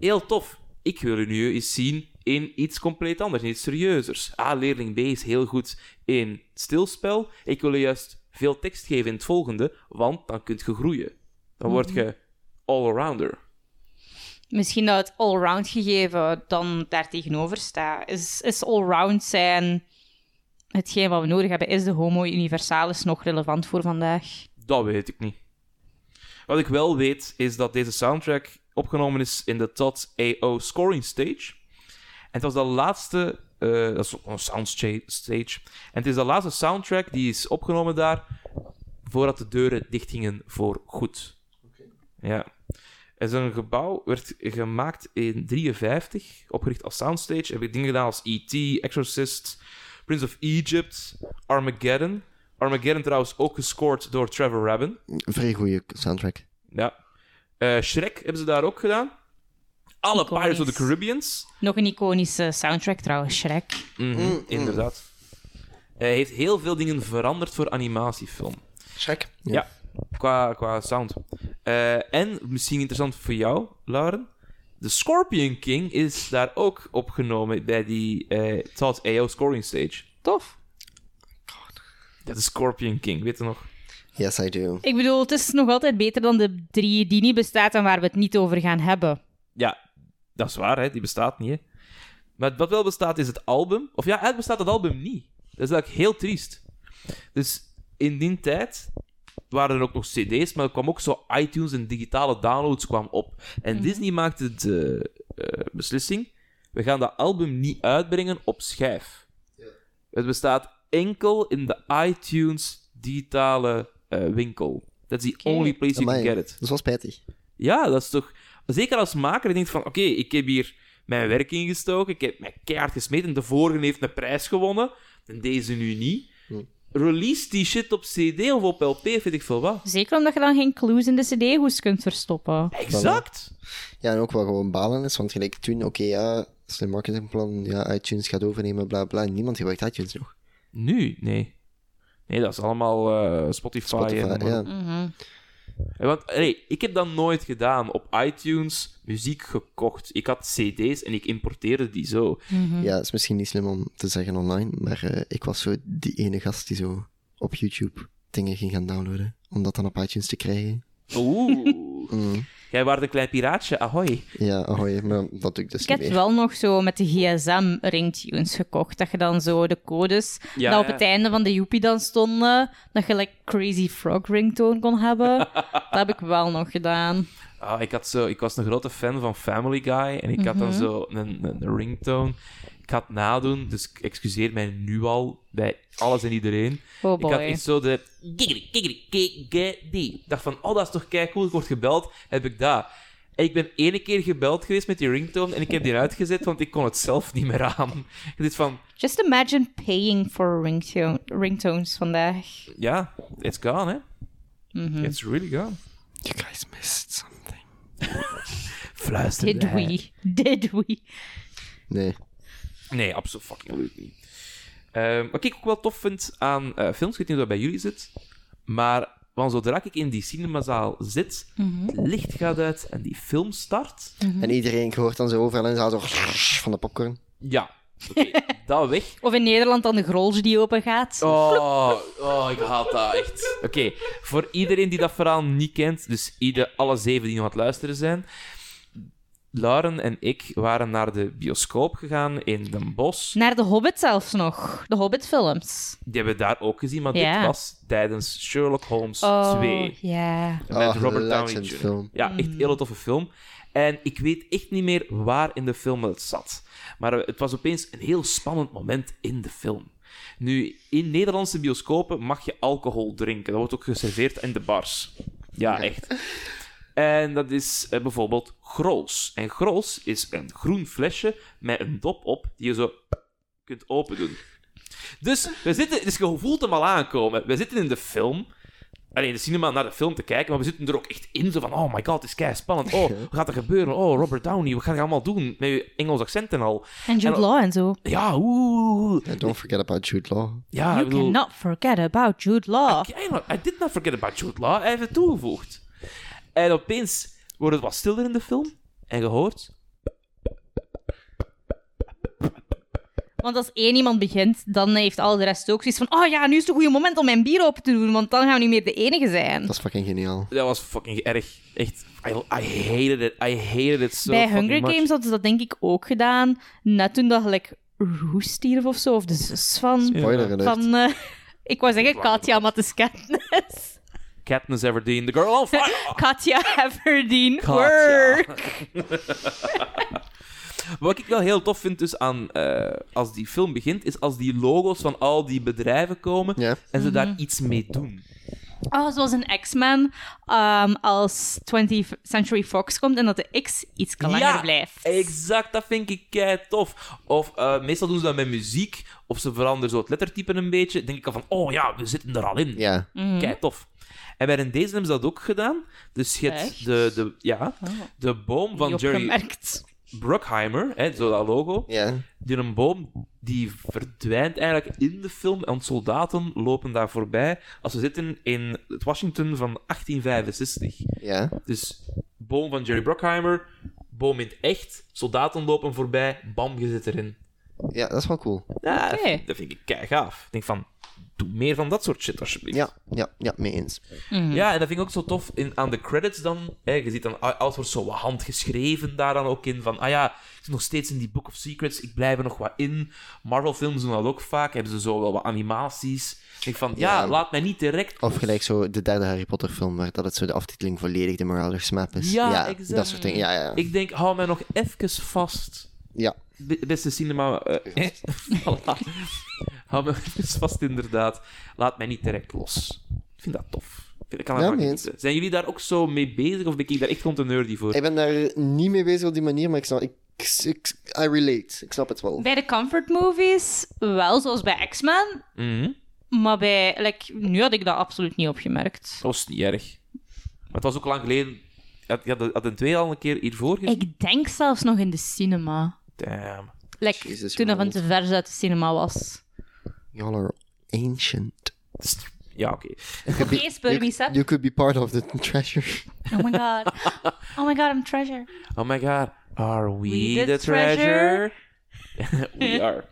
C: Heel tof. Ik wil u nu eens zien in iets compleet anders, in iets serieuzers. Ah, leerling B is heel goed in stilspel. Ik wil u juist veel tekst geven in het volgende, want dan kunt je groeien. Dan word je all-arounder.
A: Misschien dat het allround gegeven dan daar tegenover staat. Is, is allround zijn... Hetgeen wat we nodig hebben, is de homo universalis nog relevant voor vandaag?
C: Dat weet ik niet. Wat ik wel weet, is dat deze soundtrack opgenomen is in de tot AO scoring stage. En het was de laatste... eh, dat is ook een soundstage. En het is de laatste soundtrack die is opgenomen daar... voordat de deuren dichtgingen voor goed. Ja. En zo'n gebouw werd gemaakt in 53, opgericht als soundstage. Heb ik dingen gedaan als E.T., Exorcist, Prince of Egypt, Armageddon. Armageddon trouwens ook gescoord door Trevor Rabin.
D: Vrij goede soundtrack.
C: Ja. Eh, Shrek hebben ze daar ook gedaan. Alle
A: Iconisch.
C: Pirates of the Caribbeans.
A: Nog een iconische soundtrack trouwens, Shrek.
C: Mhm, Inderdaad. Hij heeft heel veel dingen veranderd voor animatiefilm.
D: Check.
C: Ja. Qua, qua sound. Eh, en misschien interessant voor jou, Lauren. De Scorpion King is daar ook opgenomen bij die eh Todd AO scoring stage.
A: Tof.
C: Dat is Scorpion King, weet je nog?
D: Yes, I do.
A: Ik bedoel, het is nog altijd beter dan de drie die niet bestaat en waar we het niet over gaan hebben.
C: Ja, dat is waar, hè? die bestaat niet. Hè? Maar wat wel bestaat is het album. Of ja, eigenlijk bestaat het album niet. Dat is eigenlijk heel triest. Dus in die tijd waren er ook nog CD's, maar er kwam ook zo iTunes en digitale downloads kwam op. En Disney maakte de eh, beslissing: we gaan dat album niet uitbrengen op schijf. Het bestaat enkel in de iTunes digitale eh, winkel. That's the
A: Oké.
C: only place you
D: Amai,
C: can get it.
D: Dat is wel spijtig.
C: Ja, dat is toch... Zeker als maker, je denkt van... Oké, ik heb hier mijn werk ingestoken. Ik heb mijn keihard gesmeten. De vorige heeft een prijs gewonnen. En deze nu niet.
D: Hm.
C: Release die shit op cd of op lp, vind ik veel wat.
A: Zeker omdat je dan geen clues in de cd-hoes kunt verstoppen.
C: Exact.
D: Ja, en ook wel gewoon balen is, want gelijk toen, oké, ja, slim marketingplan, ja, iTunes gaat overnemen, bla bla. Niemand gebruikt iTunes nog.
C: Nu? Nee. Nee, dat is allemaal eh, Spotify.
D: Spotify,
C: en,
D: ja.
A: Mhm.
C: En Want hey, ik heb dat nooit gedaan. Op iTunes muziek gekocht. Ik had cd's en ik importeerde die zo.
D: Ja, is misschien niet slim om te zeggen online, maar eh, ik was zo die ene gast die zo op YouTube dingen ging gaan downloaden, om dat dan op iTunes te krijgen.
C: Oeh.
D: Mm.
C: Jij waart een klein piraatje, ahoy.
D: Ja, ahoy, maar dat doe ik dus
A: Ik heb
D: niet meer.
A: wel nog zo met de gsm ringtunes gekocht, dat je dan zo de codes,
C: Ja,
A: dat op
C: ja.
A: het einde van de Joepie dan stonden, dat je like Crazy Frog ringtone kon hebben. dat heb ik wel nog gedaan.
C: Ah, ik, had zo, ik was een grote fan van Family Guy en ik had
A: Mhm.
C: dan zo een, een, een ringtone. Ik ga het nadoen, dus ik excuseer mij nu al bij alles en iedereen.
A: Oh
C: ik had
A: boy.
C: iets zo de... Giggity, giggity, giggity. Ik dacht van, oh, dat is toch kei cool, ik word gebeld, heb ik dat. En ik ben ene keer gebeld geweest met die ringtone en ik heb die uitgezet, want ik kon het zelf niet meer aan. Ik dacht van,
A: Just imagine paying for ringtone, ringtones vandaag.
C: ja, it's gone, hè.
A: Mhm.
C: It's really gone.
D: You guys missed something.
C: Fluister
A: Did we? Did we?
D: Nee.
C: Nee, absoluut fucking niet. Ehm, wat ik ook wel tof vind aan eh, films, ik weet niet hoe dat bij jullie zit, maar van zodra ik in die cinemazaal zit,
A: Mhm.
C: het licht gaat uit en die film start.
D: En iedereen hoort dan zo overal en zaal zo van de popcorn.
C: Ja, oké, dat weg.
A: Of in Nederland dan de grolge die open gaat.
C: Oh, oh, ik haat dat echt. Oké, voor iedereen die dat verhaal niet kent, dus ieder, alle zeven die nog aan het luisteren zijn. Lauren en ik waren naar de bioscoop gegaan in Den Bosch.
A: Naar de Hobbit zelfs nog. De Hobbit-films.
C: Die hebben we daar ook gezien, maar
A: Ja.
C: dit was tijdens Sherlock Holmes
A: Oh,
C: 2.
A: ja.
C: Met
D: Ah,
C: Robert Downey
D: legend
C: Jr.
D: film.
C: Ja, echt een hele toffe film. En ik weet echt niet meer waar in de film het zat. Maar eh, het was opeens een heel spannend moment in de film. Nu, in Nederlandse bioscopen mag je alcohol drinken. Dat wordt ook geserveerd in de bars. Ja, echt. En dat is eh, bijvoorbeeld Grols. En Grols is een groen flesje met een dop op die je zo kunt opendoen. Dus, we zitten, dus je voelt hem al aankomen. We zitten in de film. Alleen in de cinema naar de film te kijken, maar we zitten er ook echt in. Zo van, oh my god, het is kei spannend. Oh, wat gaat er gebeuren? Oh, Robert Downey, wat gaan we allemaal doen? Met je Engels accent en al.
A: En Jude
C: En-
A: Law en zo.
C: Ja, oeh.
D: Yeah, don't forget about Jude Law.
C: Ja,
A: you
C: Ah, ik bedoel...
A: cannot forget about Jude Law.
C: I, I did not forget about Jude Law. Hij heeft het toegevoegd. En opeens wordt het wat stiller in de film. En gehoord...
A: Want als één iemand begint, dan heeft al de rest ook zoiets van... Oh ja, nu is het een goede moment om mijn bier open te doen, want dan gaan we niet meer de enige zijn.
D: Dat is fucking geniaal.
C: Dat was fucking erg. Echt. I, I hated it. I hated it so
A: Bij
C: fucking
A: Hunger
C: much.
A: Games hadden ze dat denk ik ook gedaan. Net toen dat gelijk Roos stierf of zo, of de zus van...
D: Spoiler alert.
A: van eh, ik wou zeggen Katja, maar het is Katniss.
C: Katniss Everdeen, the girl on fire.
A: Katja Everdeen.
C: Katja.
A: Work.
C: Wat ik wel heel tof vind dus aan eh, als die film begint, is als die logo's van al die bedrijven komen
D: Ja.
C: en ze
A: Mhm.
C: daar iets mee doen.
A: Oh, zoals een X-Men. ehm, als 20th Century Fox komt en dat de X iets langer blijft.
C: exact. Dat vind ik kei tof. Of eh, meestal doen ze dat met muziek, of ze veranderen zo het lettertype een beetje. Denk ik al van, oh ja, we zitten er al in.
D: Ja.
A: Mhm.
C: Kei tof. En bij een deze hebben ze dat ook gedaan. Dus je hebt
A: Echt?
C: de, de, ja, de boom van
A: Niet
C: Jerry
A: opgemerkt.
C: Bruckheimer, hè, zo dat logo.
D: Ja.
C: Die een boom die verdwijnt eigenlijk in de film. En soldaten lopen daar voorbij. Als we zitten in het Washington van 1865.
D: Ja.
C: Dus boom van Jerry Bruckheimer. Boom in het echt. Soldaten lopen voorbij. Bam, je zit erin.
D: Ja, dat is wel cool.
C: Ja, dat
A: Oké.
C: vind- Dat vind ik kei gaaf. Ik denk van. Doe meer van dat soort shit, alsjeblieft.
D: Ja, ja, ja, mee eens.
C: Ja, en dat vind ik ook zo tof in, aan de credits dan. Hè, je ziet dan, ah, alles wordt zo wat handgeschreven daar dan ook in. Van, ah ja, ik zit nog steeds in die Book of Secrets, ik blijf er nog wat in. Marvel-films doen dat ook vaak, hebben ze zo wel wat animaties. Ik denk van, ja,
D: Ja.
C: laat mij niet direct...
D: Of gelijk zo de derde Harry Potter film, waar dat het zo de aftiteling volledig de Morales map is.
C: Ja, exact.
D: dat soort dingen. Ja, ja.
C: Ik denk, hou mij nog even vast.
D: ja.
C: B- beste cinema... eh, eh, voilà. hou mij even vast, inderdaad. Laat mij niet direct los. Ik vind dat tof. Ik kan
D: Ja,
C: daarvan
D: mee eens.
C: genieten. Zijn jullie daar ook zo mee bezig, of ben ik daar echt gewoon te nerdy voor?
D: Ik ben daar niet mee bezig op die manier, maar ik snap... Ik, ik, I relate. Ik snap het wel.
A: Bij de comfort movies wel, zoals bij X-Men.
C: Mhm.
A: Maar bij, like, nu had ik dat absoluut niet opgemerkt.
C: Dat was niet erg. Maar het was ook lang geleden. Had, had, had een twee al een keer hiervoor gezien?
A: Ik denk zelfs nog in de cinema.
C: Damn.
A: Like,
D: Jezus,
A: toen dat van
D: man.
A: te ver uit de cinema was.
D: Y'all are ancient.
C: Ja, oké.
A: Oké, speel
D: You, you could be part of the treasure.
A: Oh my god. Oh my god, I'm treasure.
C: Oh my god. Are we,
A: We
C: the
A: the
C: treasure? we are.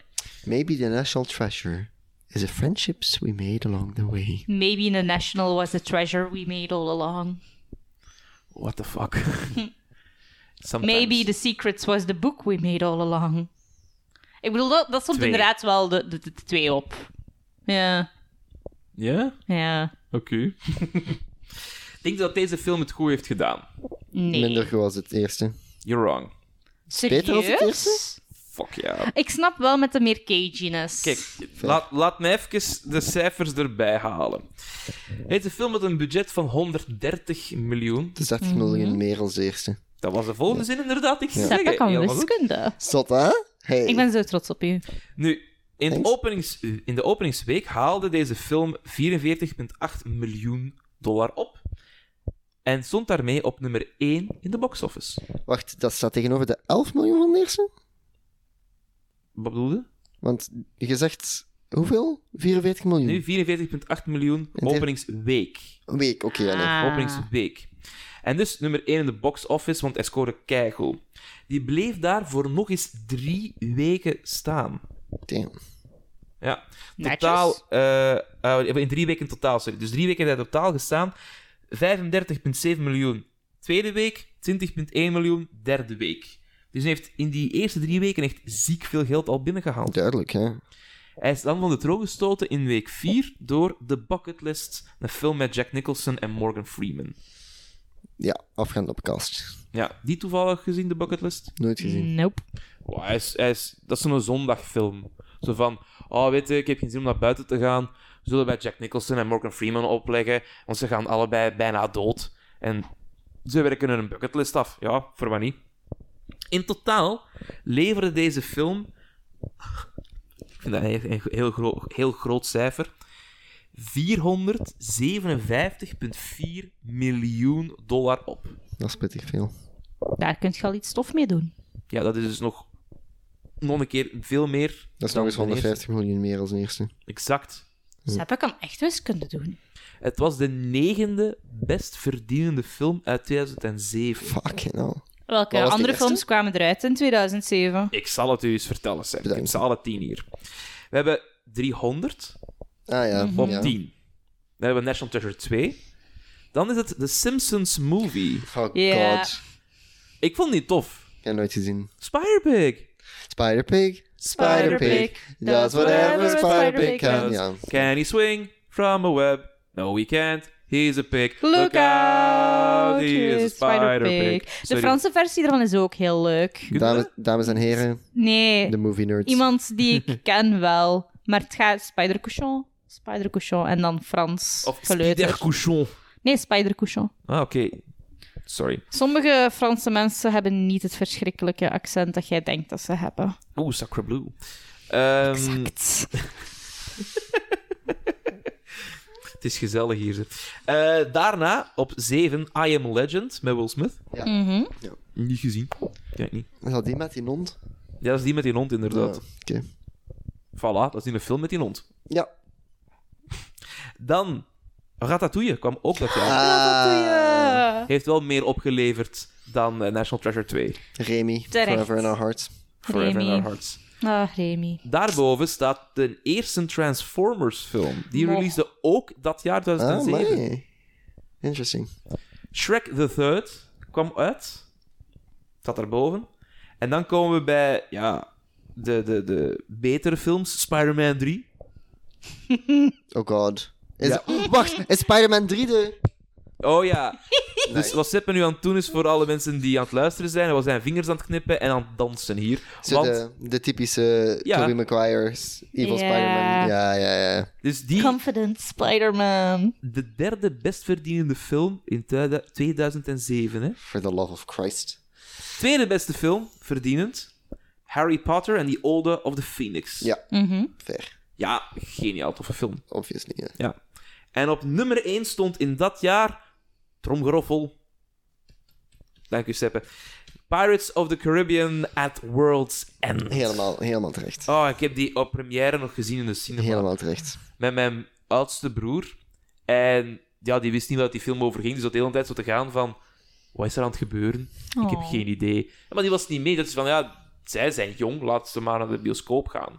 D: Maybe the national treasure is the friendships we made along the way.
A: Maybe in the national was the treasure we made all along.
C: What the fuck? Sometimes.
A: Maybe The Secrets was the book we made all along. Ik bedoel, dat, dat stond
C: Twee.
A: inderdaad wel de, de, de twee op. Ja,
C: Ja?
A: ja.
C: Oké. Ik denk dat deze film het goed heeft gedaan.
A: Nee.
D: Minder goed als het eerste.
C: You're wrong.
D: beter als het
A: Serieus?
D: eerste?
C: Fuck ja.
A: Ik snap wel met de meer caginess.
C: Kijk, laat, laat mij even de cijfers erbij halen. Het is een film met een budget van 130 miljoen.
D: Het is
A: Mhm.
D: 30 miljoen meer als de eerste.
C: Dat was de volgende zin inderdaad. Ik
A: Zeg,
C: zeg
A: dat
C: het,
A: kan dus.
C: heel goed.
A: wiskunde.
D: Zot, hè? Hey.
A: Ik ben zo trots op u.
C: Nu, in, de
D: Thanks.
C: openings, in de openingsweek haalde deze film 44,8 miljoen dollar op. En stond daarmee op nummer 1 in de box office.
D: Wacht, dat staat tegenover de 11 miljoen van de eerste?
C: Wat bedoelde?
D: Want je zegt hoeveel? 44 miljoen.
C: Nu 44,8 miljoen
D: dit-
C: openingsweek.
D: Een week, oké. ja, nee.
A: Ah.
C: openingsweek. En dus nummer 1 in de box office, want hij scoorde keigoed. Die bleef daar voor nog eens drie weken staan.
D: Damn.
C: Ja,
A: Netjes.
C: totaal. eh, eh, in drie weken totaal, sorry. Dus drie weken heeft hij totaal gestaan. 35,7 miljoen. Tweede week, 20,1 miljoen. Derde week. Dus hij heeft in die eerste drie weken echt ziek veel geld al binnengehaald.
D: Duidelijk, hè?
C: Hij is dan van de troon gestoten in week 4 door The Bucket List, een film met Jack Nicholson en Morgan Freeman.
D: Ja, afgaand op cast.
C: Ja, die toevallig gezien, de bucketlist?
D: Nooit gezien.
A: Nope.
C: Wow, hij is, hij is, dat is zo'n zondagfilm. Zo van, oh weet je, ik heb geen zin om naar buiten te gaan. We zullen bij Jack Nicholson en Morgan Freeman opleggen, want ze gaan allebei bijna dood. En ze werken er een bucketlist af. Ja, voor wat niet. In totaal leverde deze film... Ik vind dat een een heel, gro- heel groot cijfer. 457,4 miljoen dollar op.
D: Dat is pittig veel.
A: Daar kun je al iets tof mee doen.
C: Ja, dat is dus nog, nog een keer veel meer.
D: Dat is
C: dan
D: nog eens
C: de eerste.
D: 150 miljoen meer als de eerste.
C: Exact.
A: Seppa kan echt wiskunde doen.
C: Het was de negende best verdienende film uit 2007.
D: Fucking hell.
A: Welke
D: Wat was de
A: andere
D: eerste?
A: films kwamen eruit in 2007?
C: Ik zal het u eens vertellen, Sam. Ik heb
D: Bedankt.
C: ze alle tien hier. We hebben 300
D: Ah ja.
C: Mm-hmm. op
D: ja.
C: 10. Dan hebben we National Treasure 2. Dan is het The Simpsons Movie.
D: Oh
A: Ja.
D: god.
C: Ik vond die tof.
D: Ik heb nooit gezien.
C: Spider-Pig.
D: Spider-Pig. Spider-Pig. Does whatever Spider-Pig can. Ja.
C: Can he swing from a web? No, he can't. He's a pig.
A: Look out!
C: He is a Spider-Pig.
A: De
C: Sorry.
A: Franse versie daarvan is ook heel leuk.
D: Dames, dames en heren,
A: Nee,
D: de movie nerds.
A: iemand die ik ken wel. Maar het gaat Spider-Couchon, Spider-Couchon en dan Frans
C: Of
A: geleuter.
C: Spider-Couchon.
A: Nee, Spider-Couchon.
C: Ah, oké. Sorry.
A: Sommige Franse mensen hebben niet het verschrikkelijke accent dat jij denkt dat ze hebben.
C: Oeh, Sacre Blue. Ehm,
A: Exact.
C: het is gezellig hier. zeg. Eh, daarna, op 7, I Am Legend met Will Smith.
D: Ja.
A: Mhm.
C: Niet gezien. Kijk niet.
D: Is dat die met die hond?
C: Ja, dat is die met die hond, inderdaad.
D: Ah, Oké.
C: Voilà, dat is in een film met die hond.
D: Ja.
C: Dan, Ratatouille kwam ook dat jaar.
D: Ah,
A: Ja.
C: Heeft wel meer opgeleverd dan eh, National Treasure 2.
D: Remy,
A: Terecht.
D: Forever in Our Hearts.
C: Forever in
A: Remy.
C: Our Hearts.
A: Ah, Remy.
C: Daarboven staat de eerste Transformers film. Die
A: Moch.
C: releasede ook dat jaar
D: Ah,
C: 2007.
D: nee. Interesting.
C: Shrek the Third kwam uit. Zat daarboven. En dan komen we bij ja, de, de, de betere films. Spider-Man 3.
D: Oh god. Is
C: Ja.
D: Oh, wacht, is Spider-Man 3 de...
C: Oh ja. Dus
D: Nice.
C: wat Seppe nu aan het doen is voor alle mensen die aan het luisteren zijn. Hij was zijn vingers aan het knippen en aan het dansen hier.
D: Zo
C: Want,
D: de, de typische
C: Ja.
D: Tobey Maguire's Evil
A: Ja.
D: Spider-Man. Ja, ja, ja.
C: dus die,
A: Confident Spider-Man.
C: de derde bestverdienende film in tuida- 2007. Hè.
D: For the love of Christ.
C: Tweede beste film, verdienend. Harry Potter en the Order of the Phoenix.
D: Ja,
A: Mhm.
D: fair.
C: ja geniaal toffe film.
D: Obviously, ja.
C: Ja. En op nummer 1 stond in dat jaar. Tromgeroffel. Dank u, Seppe. Pirates of the Caribbean at World's End.
D: Helemaal, helemaal terecht.
C: Oh, ik heb die op première nog gezien in de cinema.
D: Helemaal terecht.
C: Met mijn oudste broer. En ja, die wist niet wat die film over ging. Dus dat de hele tijd zo te gaan van... Wat is er aan het gebeuren? Ik heb
A: Oh.
C: geen idee. Maar die was niet mee. Dat is van, ja, zij zijn jong. Laat ze maar naar de bioscoop gaan.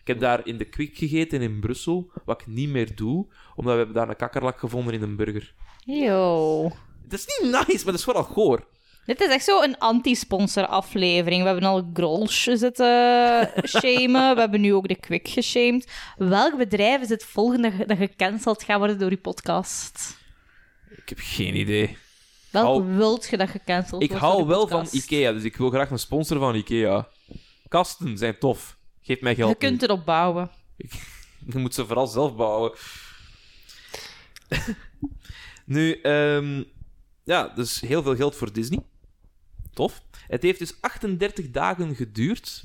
C: Ik heb daar in de Kwik gegeten in Brussel. Wat ik niet meer doe. Omdat we hebben daar een kakkerlak gevonden in een burger.
A: Yo.
C: Dat is niet nice, maar dat is vooral goor.
A: Dit is echt zo'n anti-sponsor aflevering. We hebben al Grolsch zitten shamen. We hebben nu ook de Quick geshamed. Welk bedrijf is het volgende dat gecanceld gaat worden door die podcast?
C: Ik heb geen idee.
A: Welk
C: Hou-
A: wilt je dat gecanceld
C: Ik
A: wordt
C: hou
A: door die
C: wel van
A: podcast?
C: Ikea, dus ik wil graag een sponsor van Ikea. Kasten zijn tof. Geef mij geld.
A: Je kunt erop bouwen.
C: Je moet ze vooral zelf bouwen. nu, ehm, ja, dus heel veel geld voor Disney. Tof. Het heeft dus 38 dagen geduurd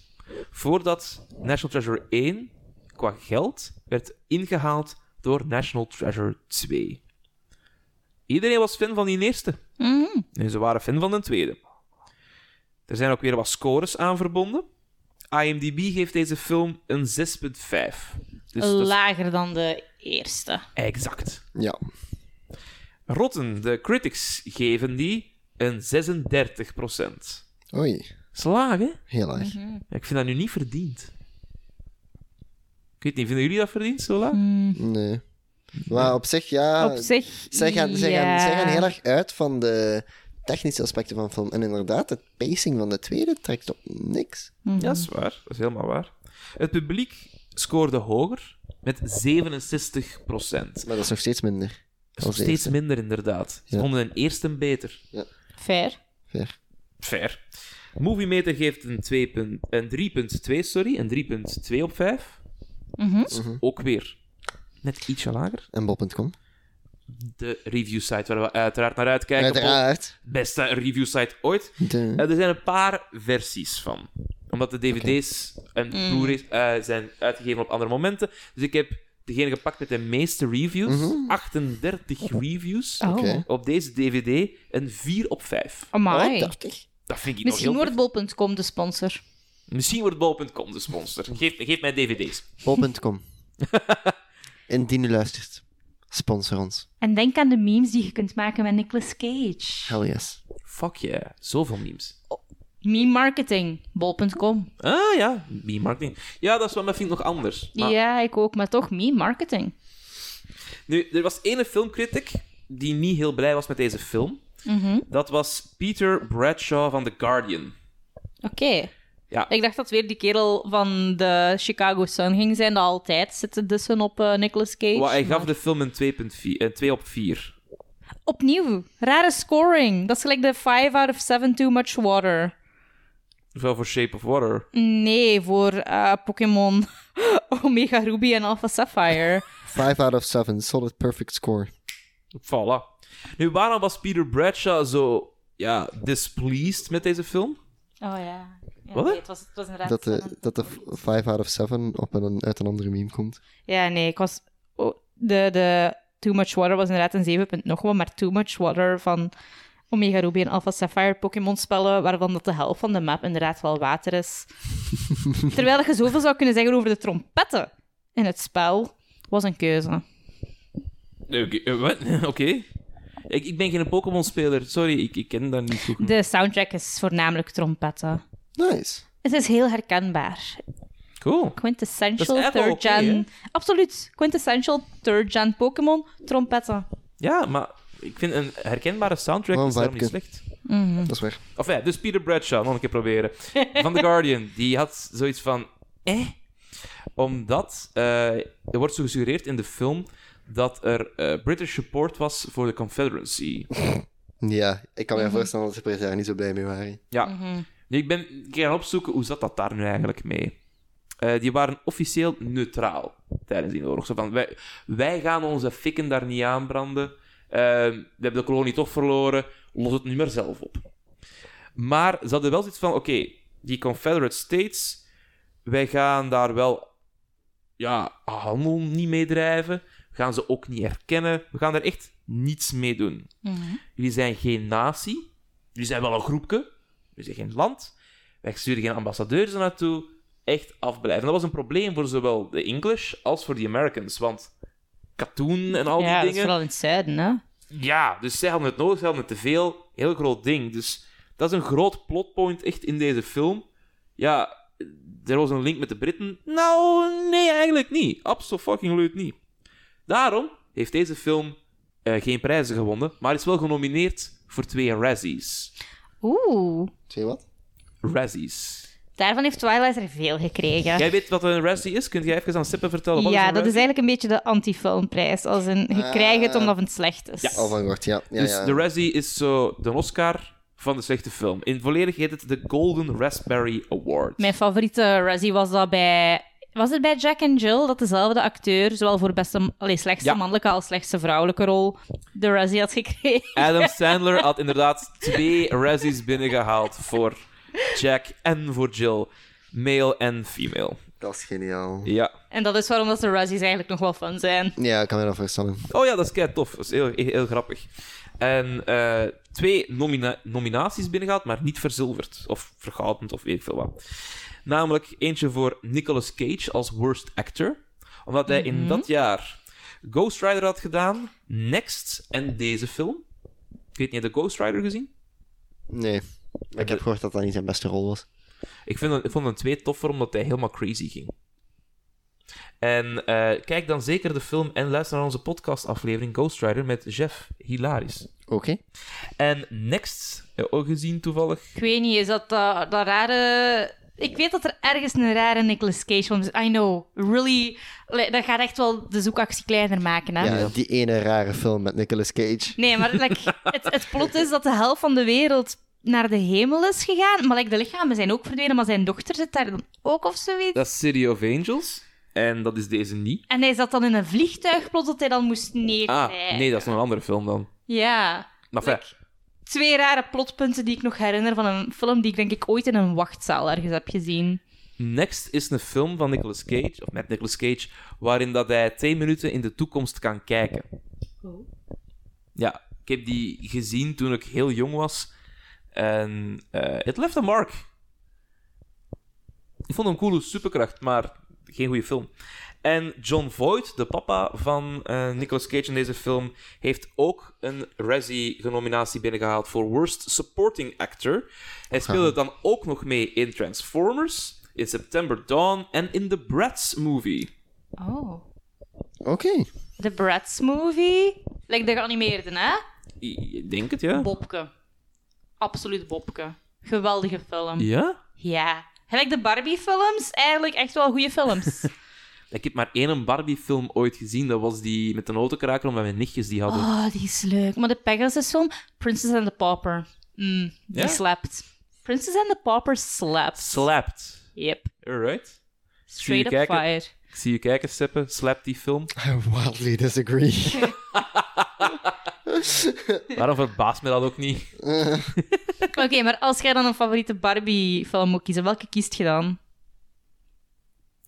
C: voordat National Treasure 1 qua geld werd ingehaald door National Treasure 2. Iedereen was fan van die eerste.
A: Mhm.
C: En ze waren fan van de tweede. Er zijn ook weer wat scores aan verbonden. IMDb geeft deze film een 6,5. Dus dat is
A: Lager dan de eerste.
C: exact.
D: Ja.
C: Rotten, de critics, geven die een 36 procent.
D: Oei,
C: Slaag, hè?
D: heel erg.
C: Ik vind dat nu niet verdiend. Ik weet niet, vinden jullie dat verdiend, zo laag?
D: Nee. Maar op zich, ja.
A: Mhm. Op zich.
D: Ah, zij, gaan, zij, gaan,
A: ja.
D: zij gaan heel erg uit van de technische aspecten van film. En inderdaad, het pacing van de tweede trekt op niks.
C: Ja, dat is waar. Dat is helemaal waar. Het publiek scoorde hoger met 67 procent.
D: Maar dat is nog steeds minder.
C: Dat is nog
D: Als
C: steeds
D: eerste.
C: minder, inderdaad. Ze
D: Ja.
C: vonden een eerste beter.
A: Fair.
D: Ver.
C: Fair. Moviemeter geeft een, 2 punt- een 3.2, sorry, een 3.2 op 5.
A: Mhm.
C: Dat is ook weer net ietsje lager.
D: En bol.com.
C: De review site waar we uiteraard naar uitkijken.
D: Uiteraard.
C: Pol. Beste review site ooit.
D: De-
C: Eh, er zijn een paar versies van. Omdat de DVD's en
A: Mm.
C: Blu-rays eh, zijn uitgegeven op andere momenten. Dus ik heb degene gepakt met de meeste reviews.
D: Mhm.
C: 38 reviews.
A: Oh.
D: Oké.
C: Op deze DVD een 4 op 5.
A: Amai.
D: Oh, 80.
C: Dat vind ik nog
A: Misschien
C: heel
A: wordt bol.com de sponsor.
C: Misschien wordt bol.com de sponsor. Geef, geef mij dvd's.
D: Bol.com. Indien u luistert, sponsor ons.
A: En denk aan de memes die je kunt maken met Nicolas Cage.
D: Hell yes.
C: Fuck yeah, zoveel memes.
A: Meme marketing, bol.com.
C: Ah ja, meme marketing. Ja, dat is wel misschien nog anders. Maar
A: Ja, ik ook, maar toch meme marketing.
C: Nu, er was ene filmcritic die niet heel blij was met deze film.
A: Mhm.
C: Dat was Peter Bradshaw van The Guardian.
A: Oké.
C: Ja,
A: Ik dacht dat weer die kerel van de Chicago Sun ging zijn, dat altijd zit te dissen op eh, Nicolas Cage.
C: wa- hij gaf de film een 2.4 eh, 2 op 4.
A: Opnieuw, rare scoring. Dat is gelijk de 5 out of 7 too much water.
C: Wel voor Shape of Water.
A: Nee, voor eh, Pokémon Omega Ruby en Alpha Sapphire.
D: 5 out of 7, solid perfect score.
C: Voilà. Nu, waarom was Peter Bradshaw zo ja, displeased met deze film?
A: Oh ja. ja
C: Wat?
A: nee, het, was, het was een raar
D: Dat de, dat de 5 out of 7 op een, uit een andere meme komt.
A: Ja, nee, ik was... oh, de, de Too Much Water was inderdaad een 7 punt nog wat, maar Too Much Water van Omega Ruby en Alpha Sapphire Pokémon-spellen, waarvan dat de helft van de map inderdaad wel water is. Terwijl dat je zoveel zou kunnen zeggen over de trompetten in het spel, was een keuze.
C: Oké. eh, wat? Oké. Ik, ik ben geen Pokémon-speler. Sorry, ik, ik ken dat niet goed. genoeg.
A: De soundtrack is voornamelijk trompetten.
D: Nice.
A: Het is heel herkenbaar.
C: Cool.
A: Quintessential
C: Dat is echt wel
A: third gen.
C: oké,
A: Absoluut. Quintessential third gen Pokémon trompetten.
C: Ja, maar ik vind een herkenbare soundtrack
D: Wel een
C: is daarom niet
D: vibeke.
C: slecht.
D: Dat is waar.
C: Of ja, dus Peter Bradshaw, nog een keer proberen. Van The Guardian, die had zoiets van... Eh? Omdat eh, er wordt zo gesuggereerd in de film dat er eh, British support was voor de Confederacy.
D: Ja, ik kan me voorstellen dat de Britten daar niet zo blij mee waren.
C: Ja. Nu, ik ben ik ga gaan opzoeken hoe zat dat daar nu eigenlijk mee. Eh, die waren officieel neutraal tijdens die oorlog. Zo van, wij, wij gaan onze fikken daar niet aanbranden. Eh, we hebben de kolonie toch verloren. Los het nu maar zelf op. Maar ze hadden wel zoiets van: oké, die Confederate States, wij gaan daar wel ja, handel niet mee drijven. We gaan ze ook niet herkennen. We gaan er echt niets mee doen.
A: Hmm.
C: Jullie zijn geen natie. Jullie zijn wel een groepje. Jullie zijn geen land. Wij sturen geen ambassadeurs er naartoe. Echt afblijven. Dat was een probleem voor zowel de English als voor de Americans. Want katoen en al
A: ja,
C: die
A: dat is
C: dingen.
A: vooral in het zuiden, hè?
C: Ja, dus zij hadden het nodig, zij hadden het te veel. Heel groot ding. Dus dat is een groot plotpoint echt in deze film. Ja, er was een link met de Britten. Nou, nee, eigenlijk niet. Absoluut fucking niet. Daarom heeft deze film eh, geen prijzen gewonnen, maar is wel genomineerd voor twee Razzies.
A: Oeh.
D: Twee wat?
C: Razzies.
A: Daarvan heeft Twilight er veel gekregen.
C: Jij weet wat een Razzie is? Kunt jij even aan Seppe vertellen wat
A: ja,
C: een
A: dat is
C: Razzie?
A: eigenlijk een beetje de anti-filmprijs. Als een, je krijgt het omdat het slecht is.
D: Oh, van wacht, ja. ja,
C: Dus
D: ja.
C: de Razzie is zo de Oscar van de slechte film. In volledig heet het de Golden Raspberry Award.
A: Mijn favoriete Razzie was dat bij... Was het bij Jack en Jill dat dezelfde acteur, zowel voor beste, allee, slechtste
C: Ja.
A: mannelijke als slechtste vrouwelijke rol, de Razzie had gekregen?
C: Adam Sandler had inderdaad twee Razzies binnengehaald voor Jack en voor Jill. Male en female.
D: Dat is geniaal.
C: Ja.
A: En dat is waarom dat de Razzies eigenlijk nog wel fun zijn.
D: Ja, ik kan me dat voorstellen.
C: Oh ja, dat is kei tof. Dat is heel, heel, heel grappig. En eh, twee nomina- nominaties binnengehaald, maar niet verzilverd. Of vergoudend, of weet ik veel wat. Namelijk eentje voor Nicolas Cage als worst actor. Omdat hij in dat jaar Ghost Rider had gedaan, Next en deze film. Ik weet niet, heb je Ghost Rider gezien?
D: Nee. Ik heb gehoord dat dat niet zijn beste rol was.
C: Ik, vind, het- ik vond het twee toffer omdat hij helemaal crazy ging. En eh, kijk dan zeker de film en luister naar onze podcastaflevering Ghost Rider met Jeff. Hilarisch.
D: Oké.
C: En Next, eh, ook gezien toevallig.
A: Ik weet niet, is dat eh, dat, dat rare... Ik weet dat er ergens een rare Nicolas Cage film is. I know, really. Like, Dat gaat echt wel de zoekactie kleiner maken, hè?
D: Ja, die ene rare film met Nicolas Cage.
A: Nee, maar like, het, het plot is dat de helft van de wereld naar de hemel is gegaan. Maar like, de lichamen zijn ook verdwenen, maar zijn dochter zit daar dan ook of zoiets.
C: Dat is City of Angels. En dat is deze niet.
A: En hij zat dan in een vliegtuig plots dat hij dan moest
C: Ah,
A: neerkrijgen.
C: nee, dat is nog een andere film dan.
A: Ja.
C: Maar fijn.
A: Twee rare plotpunten die ik nog herinner van een film die ik denk ik ooit in een wachtzaal ergens heb gezien.
C: Next is een film van Nicolas Cage, of met Nicolas Cage, waarin dat hij twee minuten in de toekomst kan kijken. Ja, ik heb die gezien toen ik heel jong was. En eh het left a mark. Ik vond hem een coole superkracht, maar geen goede film. En John Voight, de papa van eh, Nicolas Cage in deze film, heeft ook een Razzie-nominatie binnengehaald voor Worst Supporting Actor. Hij speelde dan ook nog mee in Transformers, in September Dawn en in The Bratz Movie.
A: Oh.
D: Oké.
A: The Bratz Movie. Like de geanimeerde, hè?
C: I- Ik denk het, ja.
A: Bobke. Absoluut Bobke. Geweldige film.
C: Ja?
A: Ja. Gelijk de Barbie-films, eigenlijk echt wel goede films.
C: Ik heb maar één Barbie-film ooit gezien. Dat was die met een autokraker, omdat mijn nichtjes die hadden.
A: oh, die is leuk. Maar de Pegasus-film, Princess and the Pauper. Mm,
C: Ja?
A: Die slapt. Princess and the Pauper slapt.
C: Slapped.
A: Yep.
C: Alright.
A: Straight up
C: Zie je kijken?
A: fire.
C: Ik zie je kijken, Seppe. Slap die film.
D: I wildly disagree.
C: Waarom verbaast me dat ook niet?
A: Oké, maar als jij dan een favoriete Barbie-film moet kiezen, welke kiest je dan?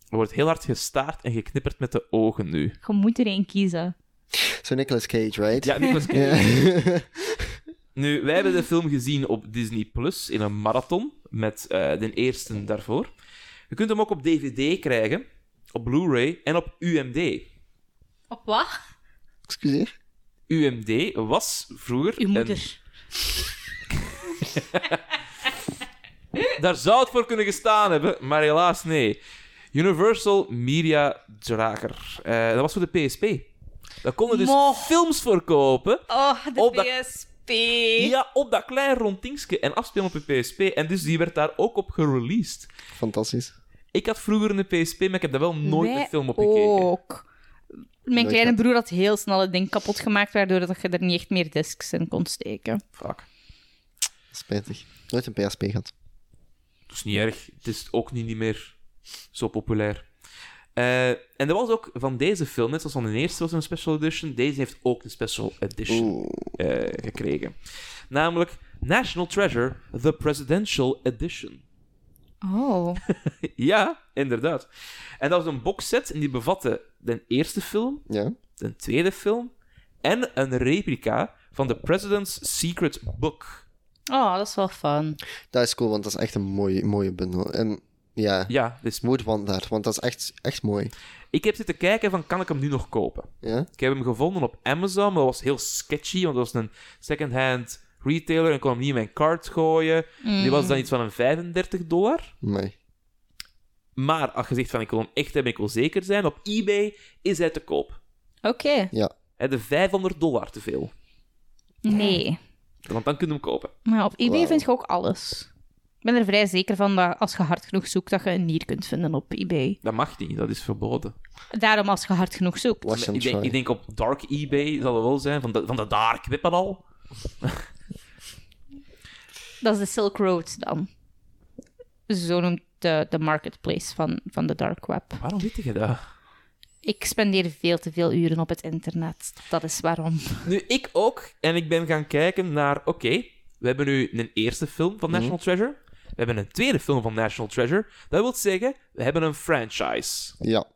C: Er wordt heel hard gestaard en geknipperd met de ogen nu.
A: Je moet er één kiezen.
D: Zo Nicolas Cage, right?
C: Ja, Nicolas Cage.
D: Ja.
C: Nu, wij hebben de film gezien op Disney Plus in een marathon. Met eh, de eerste daarvoor. Je kunt hem ook op DVD krijgen, op Blu-ray en op UMD.
A: Op wat?
D: Excuseer.
C: UMD was vroeger.
A: Uw
C: een-
A: moeder.
C: Daar zou het voor kunnen gestaan hebben, maar helaas nee. Universal Media Drager. Eh, dat was voor de PSP. Daar konden dus
A: Mo.
C: films voor kopen.
A: Oh, de
C: Op dat-
A: PSP.
C: Ja, op dat klein rond dingetje en afspelen op je PSP. En dus die werd daar ook op gereleased.
D: Fantastisch.
C: Ik had vroeger een PSP, maar ik heb daar wel nooit
A: Wij
C: een film op gekeken.
A: ook. Mijn kleine broer had heel snel het ding kapot gemaakt, waardoor dat je er niet echt meer discs in kon steken.
C: Fuck.
D: Spijtig. Nooit een PSP gehad.
C: Dat is niet erg. Het is ook niet, niet meer zo populair. Eh, en er was ook van deze film, net zoals van de eerste was er een special edition, deze heeft ook een special edition eh, gekregen. Namelijk National Treasure, The Presidential Edition.
A: Oh.
C: ja, inderdaad. En dat was een boxset en die bevatte de eerste film,
D: Ja.
C: de tweede film en een replica van The President's Secret Book.
A: Oh, dat is wel fun.
D: Dat is cool, want dat is echt een mooie, mooie bundel. En ja,
C: Ja, dus
D: moet want dat, want dat is echt, echt mooi.
C: ik heb zitten kijken van kan ik hem nu nog kopen?
D: Ja?
C: Ik heb hem gevonden op Amazon, maar dat was heel sketchy, want dat was een second-hand retailer en ik kon hem niet in mijn cart gooien. Die was dan iets van een 35 dollar.
D: Mooi.
C: Maar als je zegt van ik wil hem echt hebben, ik wil zeker zijn, op eBay is hij te koop.
A: Oké.
D: Ja.
C: Hij Hè, de 500 dollar te veel.
A: Nee.
C: Want dan kun je hem kopen.
A: Maar op eBay
D: Wauw.
A: vind je ook alles. Ik ben er vrij zeker van dat als je hard genoeg zoekt, dat je een nier kunt vinden op eBay.
C: Dat mag niet, dat is verboden.
A: Daarom als je hard genoeg zoekt.
D: Wash and
C: Ik denk,
D: try.
C: ik denk op dark eBay zal het wel zijn, van de, van de dark web al.
A: Dat is de Silk Road dan. Zo noemt de, de marketplace van, van de dark web.
C: Waarom weet je dat?
A: Ik spendeer veel te veel uren op het internet. Dat is waarom.
C: Nu, ik ook. En ik ben gaan kijken naar... Oké, we hebben nu een eerste film van National Treasure. We hebben een tweede film van National Treasure. Dat wil zeggen, we hebben een franchise.
D: Ja.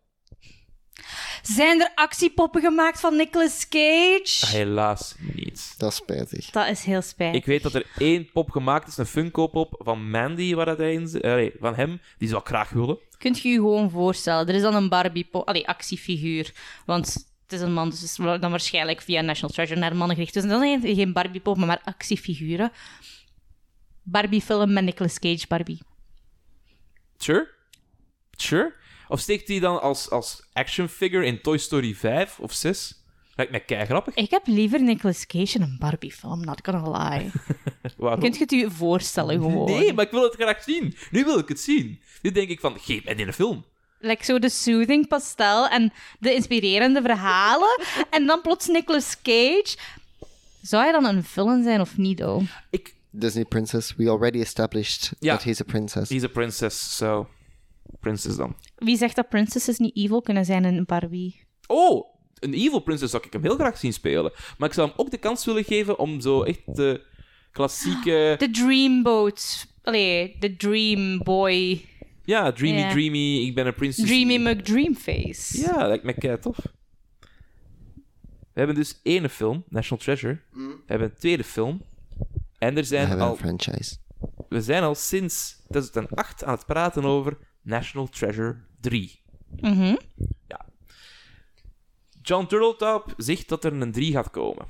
A: Zijn er actiepoppen gemaakt van Nicolas Cage?
C: Helaas niet.
D: Dat is spijtig.
A: Dat is heel spijtig.
C: Ah, Ik weet dat er één pop gemaakt is, een Funko-pop van Mandy, waar dat hij in zit. Eh, nee, van hem. Die zou ik graag willen.
A: Kunt je je gewoon voorstellen? Er is dan een Barbie-pop... Allee, actiefiguur. Want het is een man, dus het is wa- dan waarschijnlijk via National Treasure naar mannen gericht. Dus dan zijn het geen Barbie-pop, maar, maar actiefiguren. Barbie-film met Nicolas Cage Barbie.
C: Sure. Sure. Of steekt die dan als, als action figure in Toy Story 5 of 6? Lijkt mij kei grappig.
A: Ik heb liever Nicolas Cage in een Barbie-film, not gonna lie.
C: Waarom?
A: Kunt je het je voorstellen gewoon?
C: Nee, maar ik wil het graag zien. Nu wil ik het zien. Nu denk ik van, geef mij die een film.
A: Like zo de soothing pastel en de inspirerende verhalen. en dan plots Nicolas Cage. Zou hij dan een villain zijn of niet, oh?
C: Ik...
D: Disney princess. We already established
C: Ja.
D: that he's a princess.
C: He's a princess, so... Princess dan.
A: Wie zegt dat princesses niet evil kunnen zijn in Barbie?
C: Oh, een evil princess zou ik hem heel graag zien spelen. Maar ik zou hem ook de kans willen geven om zo echt de klassieke...
A: De dreamboat. Allee, de dream boy.
C: Ja, dreamy,
A: Ja.
C: dreamy, ik ben een prinses.
A: Dreamy McDreamface.
C: Ja, lijkt me kei tof. We hebben dus één film, National Treasure. We hebben een tweede film. En er
D: Mm. We
C: zijn
D: hebben een
C: al,
D: franchise.
C: we zijn al sinds 2008 aan het praten over National Treasure 3.
A: Mhm.
C: Ja. John Turtletop zegt dat er een 3 gaat komen.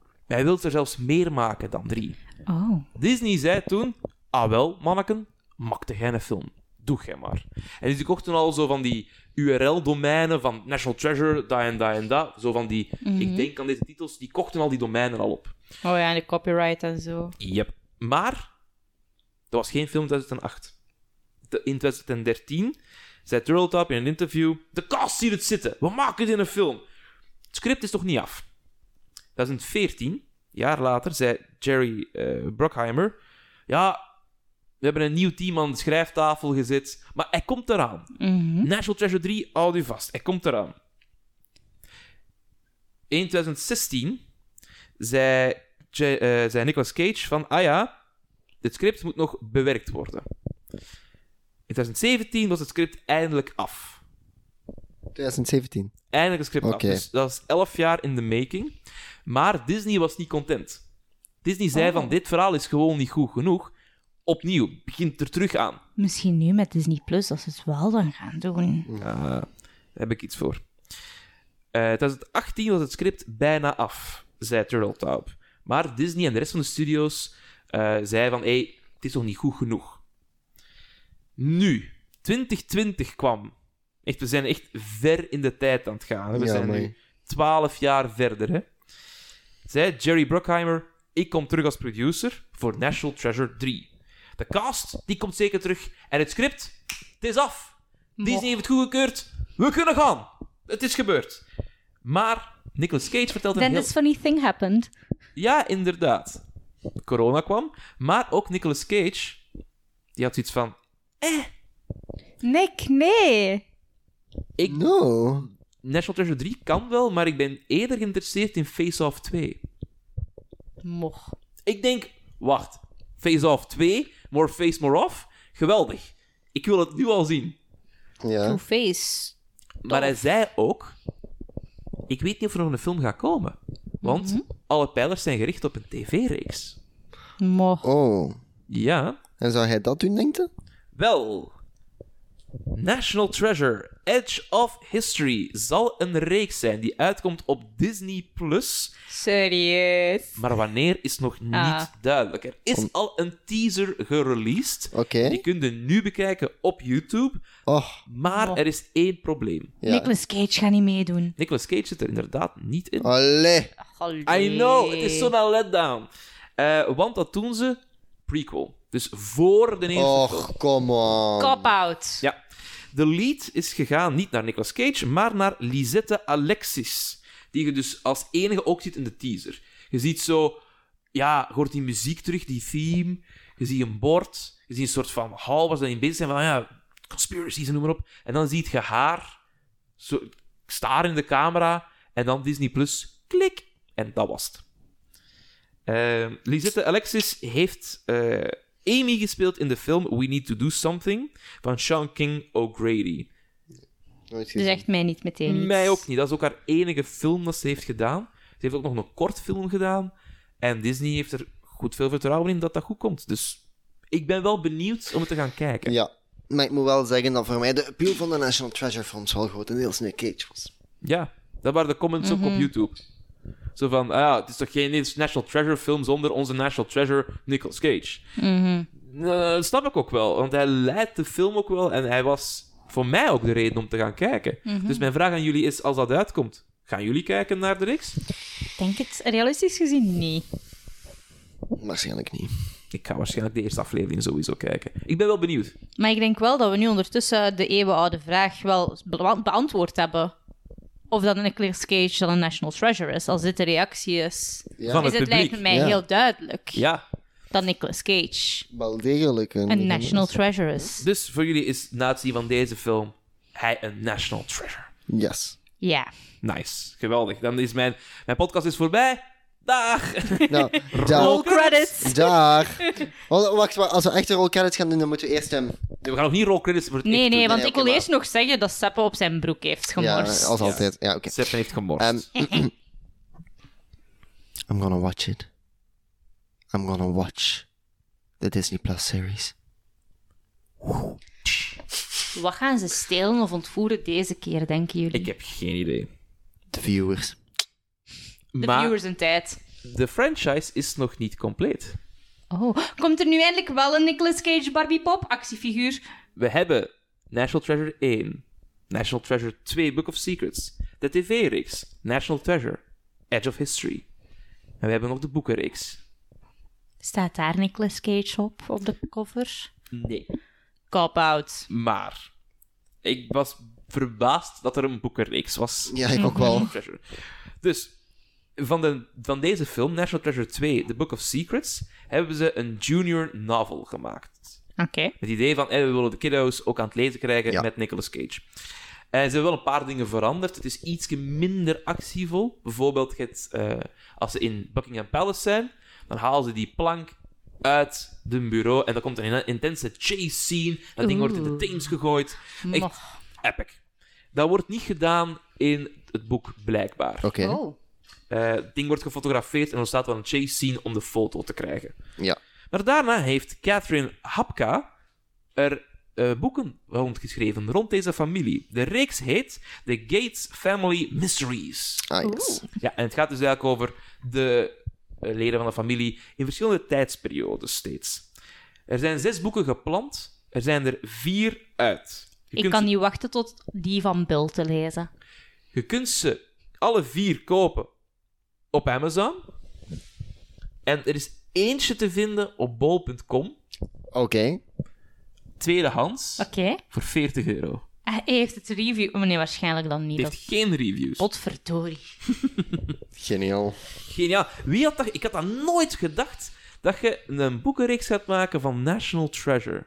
C: Maar hij wil er zelfs meer maken dan 3.
A: Oh.
C: Disney zei toen: Ah wel, manneken, maakte jij een film. Doe jij maar. En dus die kochten al zo van die URL-domeinen van National Treasure, dat en dat en dat. Zo van die, ik denk aan deze titels, die kochten al die domeinen al op.
A: Oh ja, en de copyright en zo.
C: Yep. Maar, dat was geen film 2008. De- In 2013 zei Turtletop in een interview: De cast ziet het zitten, we maken dit in een film. Het script is toch niet af? 2014, jaar later, zei Jerry eh, Bruckheimer: Ja, we hebben een nieuw team aan de schrijftafel gezet, maar hij komt eraan.
A: Mhm.
C: National Treasure 3, houd u vast, hij komt eraan. In 2016 zei, J- eh, zei Nicolas Cage van, ah ja, het script moet nog bewerkt worden. In 2017 was het script eindelijk af.
D: 2017.
C: Eindelijk het script
D: Oké.
C: af. Dus dat was 11 jaar in de making. Maar Disney was niet content. Disney zei van, dit verhaal is gewoon niet goed genoeg. Opnieuw, begint er terug aan.
A: Misschien nu met Disney Plus, als ze het wel dan gaan doen.
C: Daar heb ik iets voor. Eh 2018 was het script bijna af, zei Turtletop. Maar Disney en de rest van de studio's eh zeiden van, hé, hey, het is nog niet goed genoeg. Nu, 2020 kwam. Echt, we zijn echt ver in de tijd aan het gaan. hè. We
D: Ja,
C: zijn
D: amai.
C: nu 12 jaar verder. Hè. Zei Jerry Bruckheimer, ik kom terug als producer voor National Treasure 3. De cast, die komt zeker terug. En het script, het is af. Disney heeft het goedgekeurd. We kunnen gaan. Het is gebeurd. Maar Nicolas Cage vertelt een
A: Then
C: heel...
A: this funny thing happened.
C: Ja, inderdaad. Corona kwam. Maar ook Nicolas Cage, die had iets van...
A: Nick, nee.
D: No.
C: National Treasure 3 kan wel, maar ik ben eerder geïnteresseerd in Face Off 2.
A: Moch.
C: Ik denk, wacht. Face Off 2, More Face More Off. Geweldig. Ik wil het nu al zien.
D: Ja.
A: Two-face.
C: Maar hij zei ook: Ik weet niet of er nog een film gaat komen. Want alle pijlers zijn gericht op een tv-reeks.
A: Moch.
D: Oh.
C: Ja,
D: En zou hij dat doen, denkt u?
C: wel. National Treasure Edge of History zal een reeks zijn die uitkomt op Disney+. Plus.
A: Serieus.
C: Maar wanneer is nog niet
A: Ah.
C: duidelijk. Er is al een teaser gereleased.
D: Oké.
C: Die kun je nu bekijken op YouTube.
D: Oh,
C: Maar er is één probleem.
D: ja.
A: Nicolas Cage gaat niet meedoen.
C: Nicolas Cage zit er inderdaad niet in.
D: Allee.
A: Allee.
C: I know, het is zo'n letdown. Eh, want dat doen ze prequel. Dus voor de eerste film.
D: Och, come on.
A: Cop-out.
C: Ja. De lead is gegaan niet naar Nicolas Cage, maar naar Lisette Alexis. Die je dus als enige ook ziet in de teaser. Je ziet zo... Ja, je hoort die muziek terug, die theme. Je ziet een bord. Je ziet een soort van hal waar ze in bezig zijn. Van, ja, conspiracies en noem maar op. En dan ziet je haar zo, staren in de camera. En dan Disney+, Plus, klik. En dat was het. Eh, Lisette Alexis heeft eh, Amy gespeeld in de film We Need to Do Something van Sean King O'Grady.
D: Nooit
A: Dat
D: gezien.
A: zegt Dus mij niet meteen iets.
C: Mij ook niet. Dat is ook haar enige film dat ze heeft gedaan. Ze heeft ook nog een kort film gedaan. En Disney heeft er goed veel vertrouwen in dat dat goed komt. Dus ik ben wel benieuwd om het te gaan kijken.
D: Ja. Maar ik moet wel zeggen dat voor mij de appeal van de National Treasure Films wel grotendeels Nick Cage was.
C: Ja, dat waren de comments ook op YouTube. Zo van, ah, ja, het is toch geen National Treasure film zonder onze National Treasure Nicolas Cage. Eh, dat snap ik ook wel, want hij leidt de film ook wel en hij was voor mij ook de reden om te gaan kijken. Dus mijn vraag aan jullie is, als dat uitkomt, gaan jullie kijken naar de reeks?
A: Ik denk het realistisch gezien niet.
D: Waarschijnlijk niet.
C: Ik ga waarschijnlijk de eerste aflevering sowieso kijken. Ik ben wel benieuwd.
A: Maar ik denk wel dat we nu ondertussen de eeuwenoude vraag wel be- beantwoord hebben. Of dat Nicolas Cage dan een national treasure is, als dit de reactie is.
D: Ja.
C: Van
A: is
C: het
A: het
C: publiek.
A: lijkt mij
D: Ja.
A: heel duidelijk
C: Ja,
A: dat Nicolas Cage
D: Wel degelijk een...
A: een national treasure is.
C: dus voor jullie is natie van deze film hij een National Treasure.
D: Yes.
A: Ja.
C: Nice, geweldig. Dan is mijn, mijn podcast is voorbij. Dag!
D: Nou,
A: All
D: daar.
A: credits!
D: daar. Oh, Wacht, maar als we echt een roll credits gaan doen, dan moeten we eerst ehm, hem...
C: Nee, we gaan nog niet roll credits voor het
A: Nee,
C: echt
A: nee,
C: doen.
A: want
D: Nee,
A: ik
D: oké,
A: wil eerst nog zeggen dat Seppe op zijn broek heeft
D: Ja,
A: gemorst.
D: als altijd. Ja, oké.
C: Seppen heeft gemorst.
D: Ehm, I'm gonna watch it. I'm gonna watch the Disney Plus series.
A: Wat gaan ze stelen of ontvoeren deze keer, denken jullie?
C: ik heb geen idee.
D: The viewers.
A: de
C: maar
A: viewers in tijd.
C: de franchise is nog niet compleet.
A: Oh, komt er nu eindelijk wel een Nicolas Cage Barbie pop actiefiguur?
C: We hebben National Treasure 1, National Treasure 2 Book of Secrets, de tv-reeks National Treasure, Edge of History. En we hebben nog de boekenreeks.
A: Staat daar Nicolas Cage op, op de cover?
C: Nee.
A: Cop-out.
C: Maar ik was verbaasd dat er een boekenreeks was.
D: Ja, ik ook wel.
C: National Treasure. Dus van, de, van deze film, National Treasure 2, The Book of Secrets, hebben ze een junior novel gemaakt.
A: Oké.
C: Het idee van, hey, we willen de kiddo's ook aan het lezen krijgen
D: Ja.
C: met Nicolas Cage. En ze hebben wel een paar dingen veranderd. Het is iets minder actievol. Bijvoorbeeld, je hebt, eh, als ze in Buckingham Palace zijn, dan halen ze die plank uit de bureau en dan komt een intense chase scene. Dat ding wordt in de
A: Oeh.
C: Thames gegooid. Echt
A: Moch.
C: epic. Dat wordt niet gedaan in het boek, blijkbaar.
D: Oké.
A: Oh.
C: Eh, het ding wordt gefotografeerd en er staat wel een chase scene om de foto te krijgen.
D: Ja.
C: Maar daarna heeft Catherine Hapka er eh, boeken rondgeschreven rond deze familie. De reeks heet The Gates Family Mysteries.
D: Ah, yes.
C: Ja, en het gaat dus eigenlijk over de eh, leden van de familie in verschillende tijdsperiodes steeds. Er zijn zes boeken gepland, er zijn er vier uit. Je
A: Ik
C: kunt
A: kan
C: ze-
A: niet wachten tot die van Bill te lezen.
C: Je kunt ze alle vier kopen op Amazon. En er is eentje te vinden op bol.com,
D: Oké.
C: tweedehands,
A: Oké.
C: voor 40 euro.
A: Hij heeft het review... Oh, nee, waarschijnlijk dan niet.
C: Die heeft
A: Dat...
C: geen reviews.
A: Potverdorie.
D: Geniaal.
C: Geniaal. Wie had dat... Ik had dat nooit gedacht, dat je een boekenreeks gaat maken van National Treasure.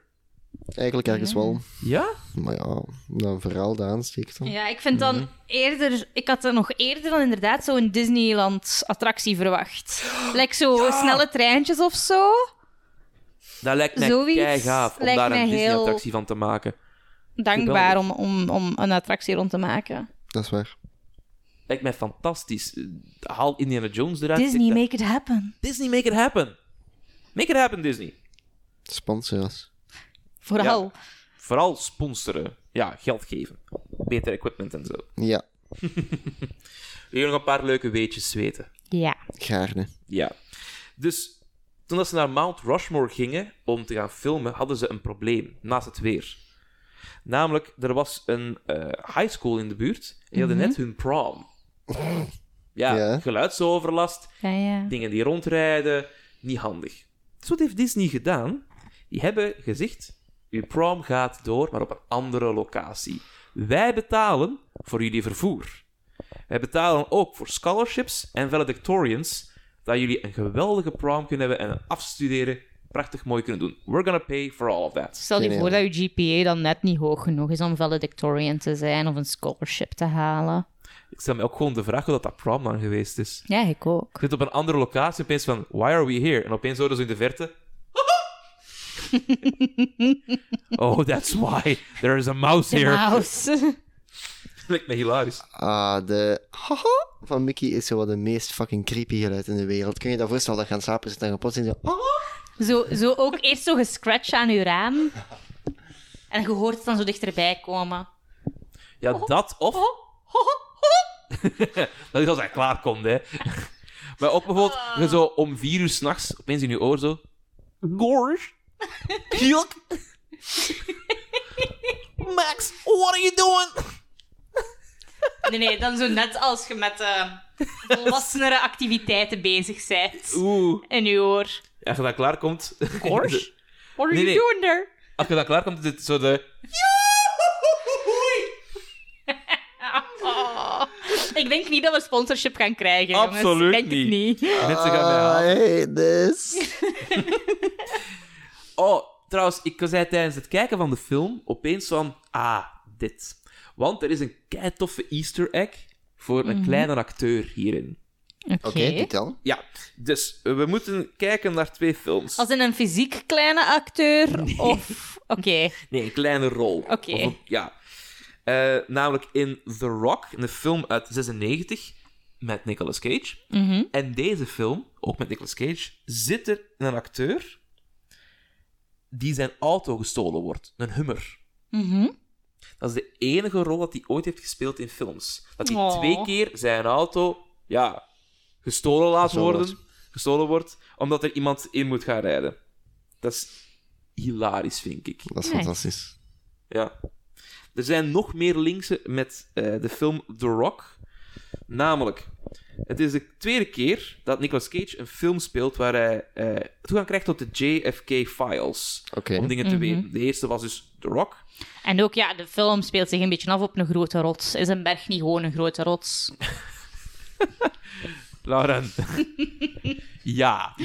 D: Eigenlijk ergens wel.
C: Ja?
D: Maar ja, dan verhaal de aansteek dan.
A: Ja, ik vind dan
C: Mhm.
A: eerder... Ik had er nog eerder dan inderdaad zo'n Disneyland-attractie verwacht. Like zo snelle treintjes of zo.
C: Dat lijkt mij
A: Zoiets
C: gaaf om
A: lijkt
C: daar een
A: mij heel-
C: Disney-attractie van te maken.
A: Dankbaar om, om, om een attractie rond te maken.
D: Dat is waar.
C: Lijkt mij fantastisch. Eh, Haal Indiana Jones eruit.
A: Disney,
C: make...
A: make it happen.
C: Disney, make it happen. Make it happen, Disney.
D: Sponsors.
A: Vooral.
C: Vooral sponsoren. Ja, geld geven. Beter equipment en zo.
D: Ja,
C: Wil je nog een paar leuke weetjes weten?
A: Ja.
D: gaarne.
C: Ja. Dus toen dat ze naar Mount Rushmore gingen om te gaan filmen, hadden ze een probleem naast het weer. Namelijk, er was een eh, high school in de buurt. En die hadden net hun prom. Ja,
D: Ja.
C: geluidsoverlast,
A: Ja, ja.
C: dingen die rondrijden, niet handig. Dus wat heeft Disney gedaan? Die hebben gezegd, uw prom gaat door, maar op een andere locatie. Wij betalen voor jullie vervoer. Wij betalen ook voor scholarships en valedictorians, dat jullie een geweldige prom kunnen hebben en afstuderen prachtig mooi kunnen doen. We're gonna pay for all of that.
A: Stel je
D: Geniaal.
A: voor dat je GPA dan net niet hoog genoeg is om valedictorian te zijn of een scholarship te halen.
C: Ik stel me ook gewoon de vraag hoe dat, dat prom dan geweest is.
A: Ja, ik ook.
C: Ik zit op een andere locatie opeens van, why are we here? En opeens horen ze in de verte... oh, that's why. There is a mouse here.
A: Mouse.
C: Lijkt me hilarisch.
D: Ah, de haha van Mickey is zo wat de meest fucking creepy geluid in de wereld. Kun je je dat voorstellen dat je aan het slapen zit en je plots in Ah, zo...
A: Zo, zo ook eerst zo gescratcht aan uw raam. En je hoort het dan zo dichterbij komen.
C: Ja, dat of...
A: Oh.
C: dat is als hij klaar komt, hè. maar ook bijvoorbeeld, je zo om vier uur s'nachts, opeens in je oor zo... Gorge. Kielk. Max, what are you doing?
A: Nee, nee, dan zo net als je met eh volwassenere activiteiten bezig bent.
C: Oeh.
A: In uw oor.
C: Als je dat klaar komt...
A: Gorge? What are
C: Nee,
A: you
C: nee.
A: doing there?
C: Als je dat klaar komt, is het zo de...
A: Oh. Ik denk niet dat we sponsorship gaan krijgen. jongens.
C: Absoluut
A: denk het
C: niet.
A: niet.
C: Mensen gaan
D: Ah.
C: mij halen.
D: hate
C: dus.
D: this.
C: Oh, trouwens, ik zei tijdens het kijken van de film opeens van... Ah, dit. Want er is een keitoffe easter egg voor een
A: Mhm.
C: kleine acteur hierin.
A: Oké.
D: Oké, vertel.
C: Ja, dus eh, we moeten kijken naar twee films.
A: Als in een fysiek kleine acteur? Of... Oké.
C: Nee, een kleine rol.
A: Oké.
C: Of een- Ja. Eh, namelijk in The Rock, een film uit 96 met Nicolas Cage.
A: Mhm.
C: En deze film, ook met Nicolas Cage, zit er een acteur die zijn auto gestolen wordt. Een Hummer.
A: Mhm.
C: Dat is de enige rol dat hij ooit heeft gespeeld in films. Dat hij
A: Oh.
C: twee keer zijn auto ja, gestolen laat
D: Gestolen
C: worden, gestolen wordt, omdat er iemand in moet gaan rijden. Dat is hilarisch, vind ik.
D: Dat is
A: Nice.
D: fantastisch.
C: Ja. Er zijn nog meer linksen met eh, de film The Rock. Namelijk, het is de tweede keer dat Nicolas Cage een film speelt waar hij eh, toegang krijgt tot de JFK-files.
D: Oké.
C: Om dingen te weten. De eerste was dus The Rock.
A: En ook, ja, de film speelt zich een beetje af op een grote rots. Is een berg niet gewoon een grote rots?
C: Lauren. ja.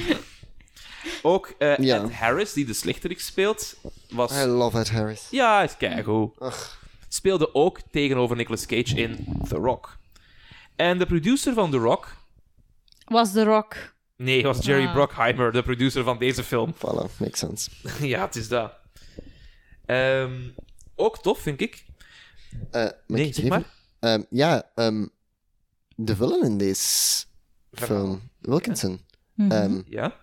C: Ook eh,
D: Ja.
C: Ed Harris, die de slechterik speelt, was...
D: I love it, Harris.
C: Ja, hij is keigoed.
D: Ach.
C: Speelde ook tegenover Nicolas Cage in The Rock. En de producer van The Rock...
A: Was The Rock.
C: Nee, was Jerry Bruckheimer, de producer van deze film.
D: Voilà, makes sense.
C: ja, het is dat. Ehm, ook tof, vind ik.
D: Eh, mag
C: Nee,
D: ik
C: zeg
D: even?
C: maar.
D: Ehm, ja, ehm, de villain in deze film, Wilkinson. Ehm,
C: Ja.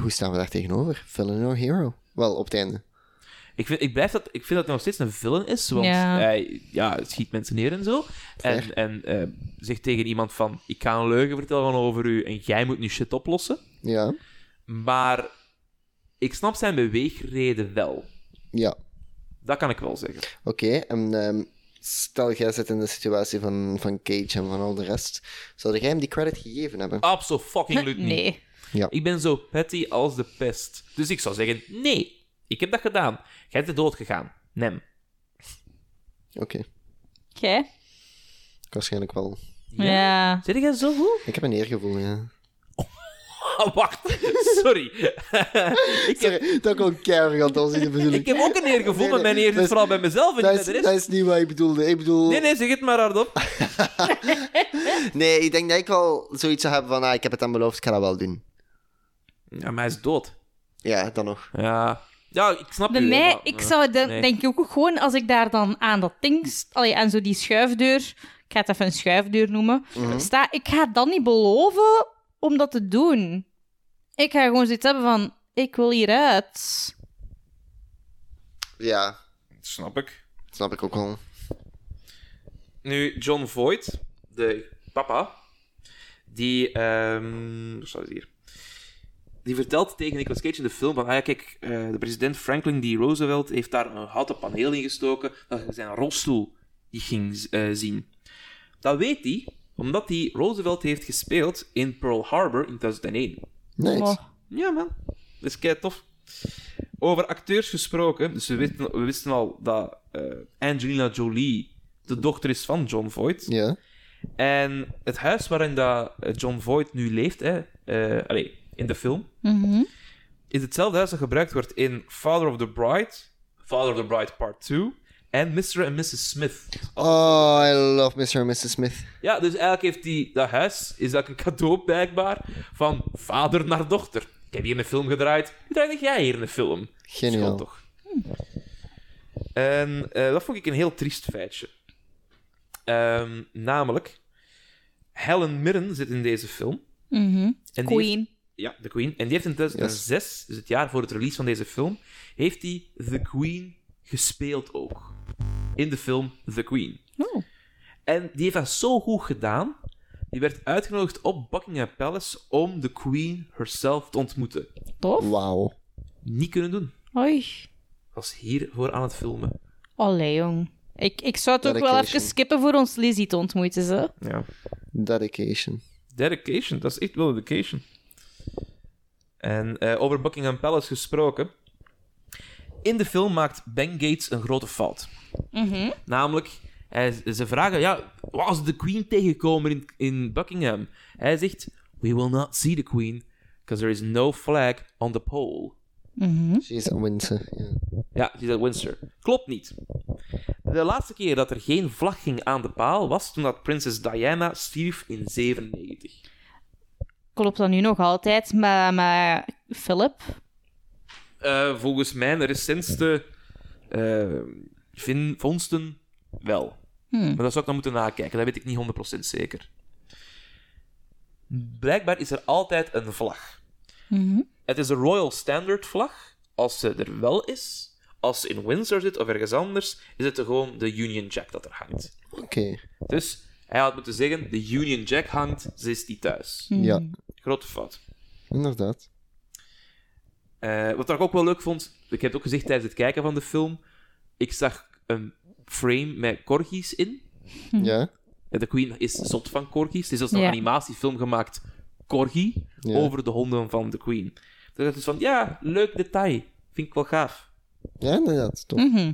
D: hoe staan we daar tegenover? Villain or hero? Wel, op het einde.
C: Ik vind, ik, blijf dat, ik vind dat hij nog steeds een villain is, want
A: Ja.
C: hij ja, schiet mensen neer en zo. En, en eh, zegt tegen iemand van, ik ga een leugen vertellen over u en jij moet nu shit oplossen.
D: Ja,
C: Maar ik snap zijn beweegreden wel.
D: ja.
C: Dat kan ik wel zeggen.
D: Oké, en ehm, stel jij zit in de situatie van, van Cage en van al de rest. Zou jij hem die credit gegeven hebben?
C: Absoluut niet.
A: Nee.
C: Ik ben zo petty als de pest. Dus ik zou zeggen, nee, ik heb dat gedaan. Jij bent dood gegaan. Nem. Ah.
D: Oké,
A: Oké.
D: waarschijnlijk wel.
A: Ja.
C: Zit jij zo goed?
D: Ik heb een eergevoel, ja.
C: Ah, wacht, sorry. ik, heb,
D: Sorry, dat kon keihard aan het de bedoeling.
C: ik heb ook een eergevoel,
D: Nee,
C: maar mijn
D: nee,
C: eer
D: dat
C: zit
D: is-
C: vooral bij mezelf en
D: dat,
C: niet
D: is,
C: bij de
D: dat
C: rest.
D: is niet wat ik bedoelde. Ik bedoel...
C: Nee, nee, zeg het maar hardop.
D: Nee, ik denk dat ik wel zoiets zou hebben van, ah, ik heb het aan beloofd, ik ga dat wel doen.
C: Ja, maar hij is dood.
D: Ja, dan nog.
C: Ja, ja ik snap
A: Bij
C: u, hè,
A: mij,
C: maar-
A: ik zou de,
C: nee.
A: denk ik ook gewoon, als ik daar dan aan dat ding, st- allee, aan zo die schuifdeur, ik ga het even een schuifdeur noemen,
C: Mhm.
A: sta, ik ga dan niet beloven om dat te doen. Ik ga gewoon zoiets hebben van, ik wil hieruit.
D: Ja,
C: Snap ik.
D: snap ik ook wel.
C: Nu, John Voight, de papa, die... ehm waar staat het hier? Die vertelt tegen Nicolas Cage in de film van... Ah ja, kijk, eh, de president Franklin D. Roosevelt heeft daar een houten paneel in gestoken dat hij zijn rolstoel die ging eh, zien. Dat weet hij, omdat hij Roosevelt heeft gespeeld in Pearl Harbor in 2001.
D: Nice.
A: Oh.
C: Ja, man. Dat is kei tof. Over acteurs gesproken, dus we wisten, we wisten al dat eh, Angelina Jolie de dochter is van John Voight.
D: Ja.
C: En het huis waarin dat eh, John Voight nu leeft, hè, eh, allee, in de film,
A: Mhm.
C: is hetzelfde huis dat gebruikt wordt in Father of the Bride, Father of the Bride Part 2 en Mr. en Mrs. Smith.
D: Oh, I love Mr. and Mrs. Smith.
C: Ja, dus eigenlijk heeft die, dat huis is dat een cadeau blijkbaar van vader naar dochter. Ik heb hier een film gedraaid. Hoe draai jij hier een film? Schoon
D: Geniaal.
C: toch? En eh, dat vond ik een heel triest feitje. Ehm, namelijk, Helen Mirren zit in deze film.
A: mhm.
C: En die heeft-
A: Queen.
C: ja, The Queen. En die heeft in 2006, dus het jaar voor het release van deze film, heeft hij The Queen gespeeld ook. In de film The Queen.
A: Oh.
C: En die heeft dat zo goed gedaan. Die werd uitgenodigd op Buckingham Palace om de Queen herself te ontmoeten.
A: Tof.
D: Wauw.
C: Niet kunnen doen.
A: Oei.
C: Was hiervoor aan het filmen.
A: Allee, jong. Ik, ik zou het ook wel
D: Dedication.
A: even skippen voor ons Lizzie te ontmoeten, ze.
C: Ja.
D: Dedication.
C: Dedication, dat is echt wel dedication. En eh, over Buckingham Palace gesproken. In de film maakt Ben Gates een grote fout. Namelijk, hij, ze vragen, ja, wat als de Queen tegenkomen in, in Buckingham? Hij zegt, we will not see the Queen, because there is no flag on the pole.
D: She's a Windsor. Ja.
C: Ja, die is uit Windsor. Klopt niet. De laatste keer dat er geen vlag ging aan de paal was toen dat prinses Diana stierf in 97.
A: Klopt dat nu nog altijd, maar, maar Philip?
C: Eh, volgens mijn recentste eh, vin- vondsten wel. Maar dat zou ik dan moeten nakijken, dat weet ik niet 100% zeker. Blijkbaar is er altijd een vlag. Het is een Royal Standard vlag, als ze er wel is. Als ze in Windsor zit of ergens anders, is het gewoon de Union Jack dat er hangt.
D: Oké.
C: Dus hij had moeten zeggen: de Union Jack hangt, ze is niet thuis.
D: Ja,
C: Grote fout.
D: inderdaad.
C: Eh, wat ik ook wel leuk vond, ik heb het ook gezegd tijdens het kijken van de film, ik zag een frame met corgis in.
A: Mhm.
D: Ja.
C: Eh, De Queen is zot van corgis. Het is als een
A: Ja.
C: animatiefilm gemaakt, Corgi,
D: Ja.
C: over de honden van de Queen. Dus dat is van, ja, leuk detail. Vind ik wel gaaf.
D: Ja, inderdaad. Toch.
A: Mhm.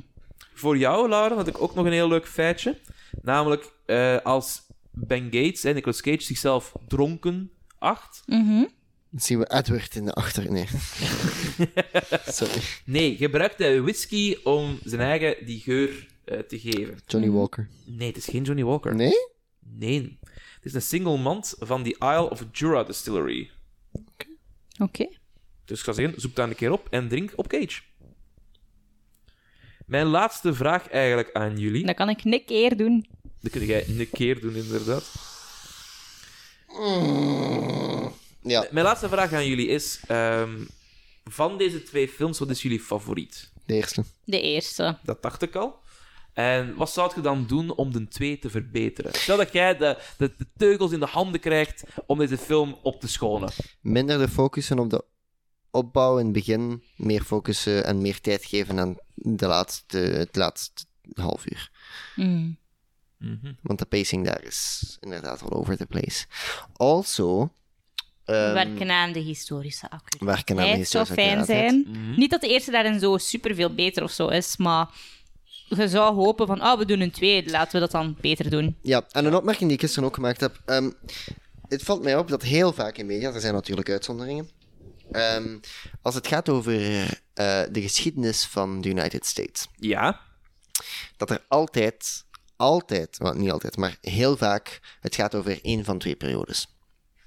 C: Voor jou, Laura, had ik ook nog een heel leuk feitje. Namelijk, eh, als Ben Gates en Nicolas Cage zichzelf dronken acht,
D: Dan zien we Edward in de achter... Nee. Sorry.
C: Nee, gebruikt hij whisky om zijn eigen die geur eh, te geven.
D: Johnny
A: Mhm.
D: Walker.
C: Nee, het is geen Johnny Walker.
D: Nee?
C: Nee. Het is een single malt van de Isle of Jura Distillery.
A: Oké.
C: Dus ik zou zeggen, zoek daar een keer op en drink op Cage. Mijn laatste vraag eigenlijk aan jullie.
A: Dat kan ik niks eer doen.
C: Dat kun jij een keer doen, inderdaad.
D: Ja,
C: Mijn laatste vraag aan jullie is... ehm, van deze twee films, wat is jullie favoriet?
D: de eerste.
A: De eerste.
C: Dat dacht ik al. En wat zou je dan doen om de twee te verbeteren? Stel dat jij de, de, de teugels in de handen krijgt om deze film op te schonen.
D: Minder de focussen op de opbouw in het begin. Meer focussen en meer tijd geven aan de laatste, het laatste half uur.
A: Mm.
D: Want de pacing daar is inderdaad all over the place. Also... ehm,
A: werken aan de historische accuratie.
D: werken aan de
A: Het zou
D: historische
A: fijn
D: accuraatheid.
A: zijn.
C: Mhm.
A: Niet dat de eerste daarin zo superveel beter of zo is, maar je zou hopen van, ah, we doen een tweede, laten we dat dan beter doen.
D: Ja, en een opmerking die ik gisteren ook gemaakt heb. ehm, het valt mij op dat heel vaak in media, er zijn natuurlijk uitzonderingen. ehm, als het gaat over eh, de geschiedenis van de United States,
C: Ja.
D: dat er altijd, altijd, wel, niet altijd, maar heel vaak, het gaat over één van twee periodes: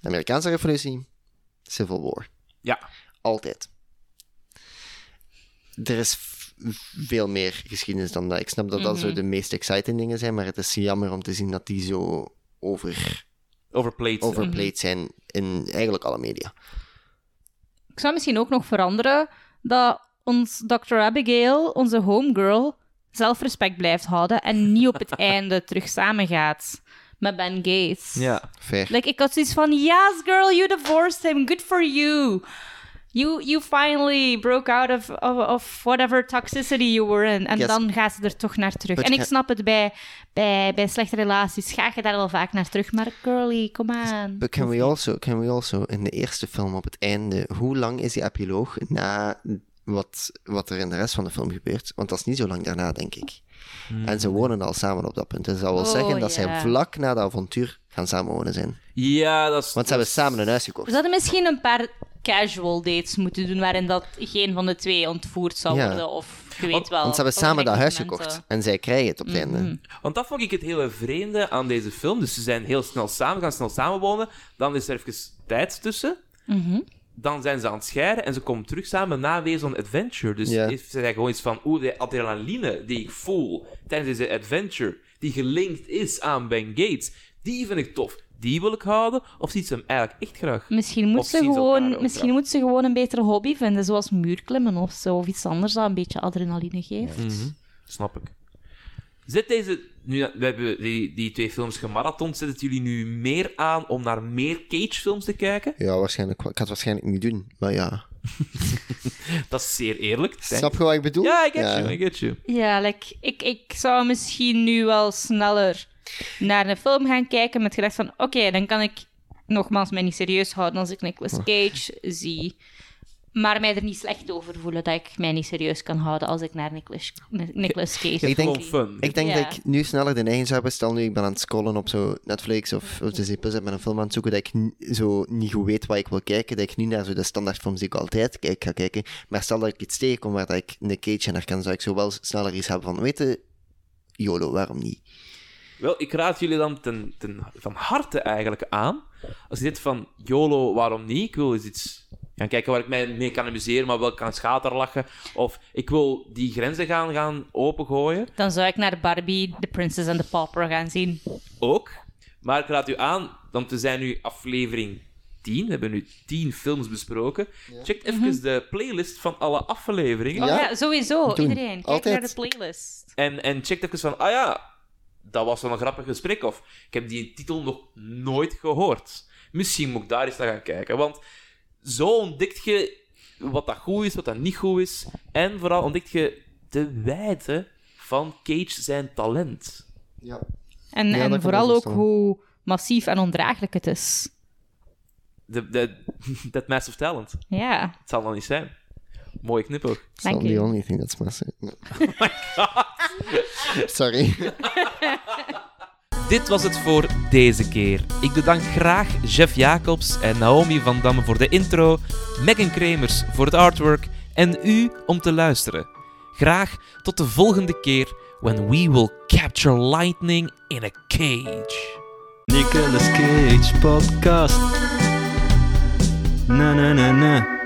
D: de Amerikaanse Revolutie, Civil War.
C: Ja.
D: Altijd. Er is v- veel meer geschiedenis dan dat. Ik snap dat dat zo de meest exciting dingen zijn, maar het is jammer om te zien dat die zo over,
C: Overplayed.
D: overplayed zijn in eigenlijk alle media.
A: Ik zou misschien ook nog veranderen dat ons Dr. Abigail, onze homegirl, zelfrespect blijft houden en niet op het einde terug samengaat met Ben Gates.
C: Ja.
D: Fair.
A: Like, ik had zoiets van, yes girl, you divorced him, good for you. You, you finally broke out of, of, of whatever toxicity you were in. En
D: Yes.
A: dan gaat ze er toch naar terug.
D: But
A: en ik
D: ca-
A: snap het bij, bij, bij slechte relaties. Ga je daar wel vaak naar terug. Maar girlie, come on.
D: But can we also, can we also in de eerste film op het einde, hoe lang is die epiloog na wat, wat er in de rest van de film gebeurt? Want dat is niet zo lang daarna, denk ik. En ze wonen al samen op dat punt. Dus dat wil
A: Oh,
D: zeggen dat
A: ja.
D: zij vlak na dat avontuur gaan samenwonen zijn.
C: Ja, dat is...
D: Want ze hebben samen een huis gekocht.
A: Ze hadden misschien een paar casual dates moeten doen waarin dat geen van de twee ontvoerd zou
D: Ja.
A: worden. Of je weet wel.
D: Want ze hebben samen dat huis gekocht. En zij krijgen het op het einde.
C: Want dat vond ik het hele vreemde aan deze film. Dus ze zijn heel snel samen, gaan snel samenwonen. Dan is er even tijd tussen. Dan zijn ze aan het scheiden en ze komen terug samen na Ways on Adventure. Dus
D: Ja.
C: is- ze zijn gewoon iets van, oeh, de adrenaline die ik voel tijdens deze adventure, die gelinkt is aan Ben Gates, die vind ik tof. Die wil ik houden, of ziet ze hem eigenlijk echt graag?
A: eh. Misschien moet,
C: Of
A: ze
C: zien ze elkaar
A: gewoon,
C: ook
A: misschien
C: wel.
A: moet ze gewoon een betere hobby vinden, zoals muurklimmen of zo. Of iets anders dat een beetje adrenaline geeft.
C: Snap ik. Zet deze... Nu, we hebben die, die twee films gemarathond. Zet het jullie nu meer aan om naar meer Cage-films te kijken?
D: Ja, waarschijnlijk. wel. Ik ga het waarschijnlijk niet doen. Maar ja.
C: Dat is zeer eerlijk. Thank
D: Snap je wat ik bedoel?
C: Ja, I get
D: Ja.
C: you, I get you.
A: Ja, like, ik, ik zou misschien nu wel sneller naar een film gaan kijken met gedacht van... Oké, dan kan ik nogmaals mij niet serieus houden als ik Nicolas Cage zie. Maar mij er niet slecht over voelen dat ik mij niet serieus kan houden als ik naar Nicolas, Nicolas Cage
D: Ik denk-
C: Gewoon fun.
D: Ik denk
A: Ja.
D: dat ik nu sneller de neiging zou hebben. Stel nu, ik ben aan het scrollen op zo Netflix of, of Disney Plus. Ik ben een film aan het zoeken dat ik n- zo niet goed weet wat ik wil kijken. Dat ik niet naar zo de standaardfilms die ik altijd kijk ga kijken. Maar stel dat ik iets tegenkom waar dat ik een cage in herken, zou ik zo wel sneller iets hebben van, weet je, YOLO, waarom niet?
C: Wel, ik raad jullie dan ten, ten, van harte eigenlijk aan. Als je dit van YOLO, waarom niet? Ik wil eens iets gaan kijken waar ik mij mee kan amuseren, maar wel kan schaterlachen. Of ik wil die grenzen gaan, gaan opengooien.
A: Dan zou ik naar Barbie, The Princess and the Pauper gaan zien.
C: ook. Maar ik raad u aan, want we zijn nu aflevering 10. We hebben nu 10 films besproken. Check even de playlist van alle afleveringen.
A: Oh ja,
D: Ja.
A: sowieso.
D: Doen.
A: Iedereen, kijk
D: Altijd.
A: naar de playlist.
C: En, en check even van, ah ja, dat was wel een grappig gesprek. Of ik heb die titel nog nooit gehoord. Misschien moet ik daar eens naar gaan kijken. Want zo ontdekt je wat dat goed is, wat dat niet goed is. En vooral ontdekt je de wijte van Cage zijn talent.
D: Ja.
A: En,
D: dat kan
A: en
D: ik
A: vooral
D: wel
A: ook
D: verstaan.
A: hoe massief en ondraaglijk het is.
C: De, de, dat massive talent.
A: Ja,
C: Het zal nog niet zijn. Mooie knipoog.
D: It's not
A: Dank
D: the
A: u.
D: only thing that's massive. No. Sorry.
C: Dit was het voor deze keer. Ik bedank graag Jeff Jacobs en Naomi van Damme voor de intro, Megan Kremers voor het artwork en u om te luisteren. Graag tot de volgende keer when we will capture lightning in a cage.
B: Nicolas Cage podcast. Na na na na.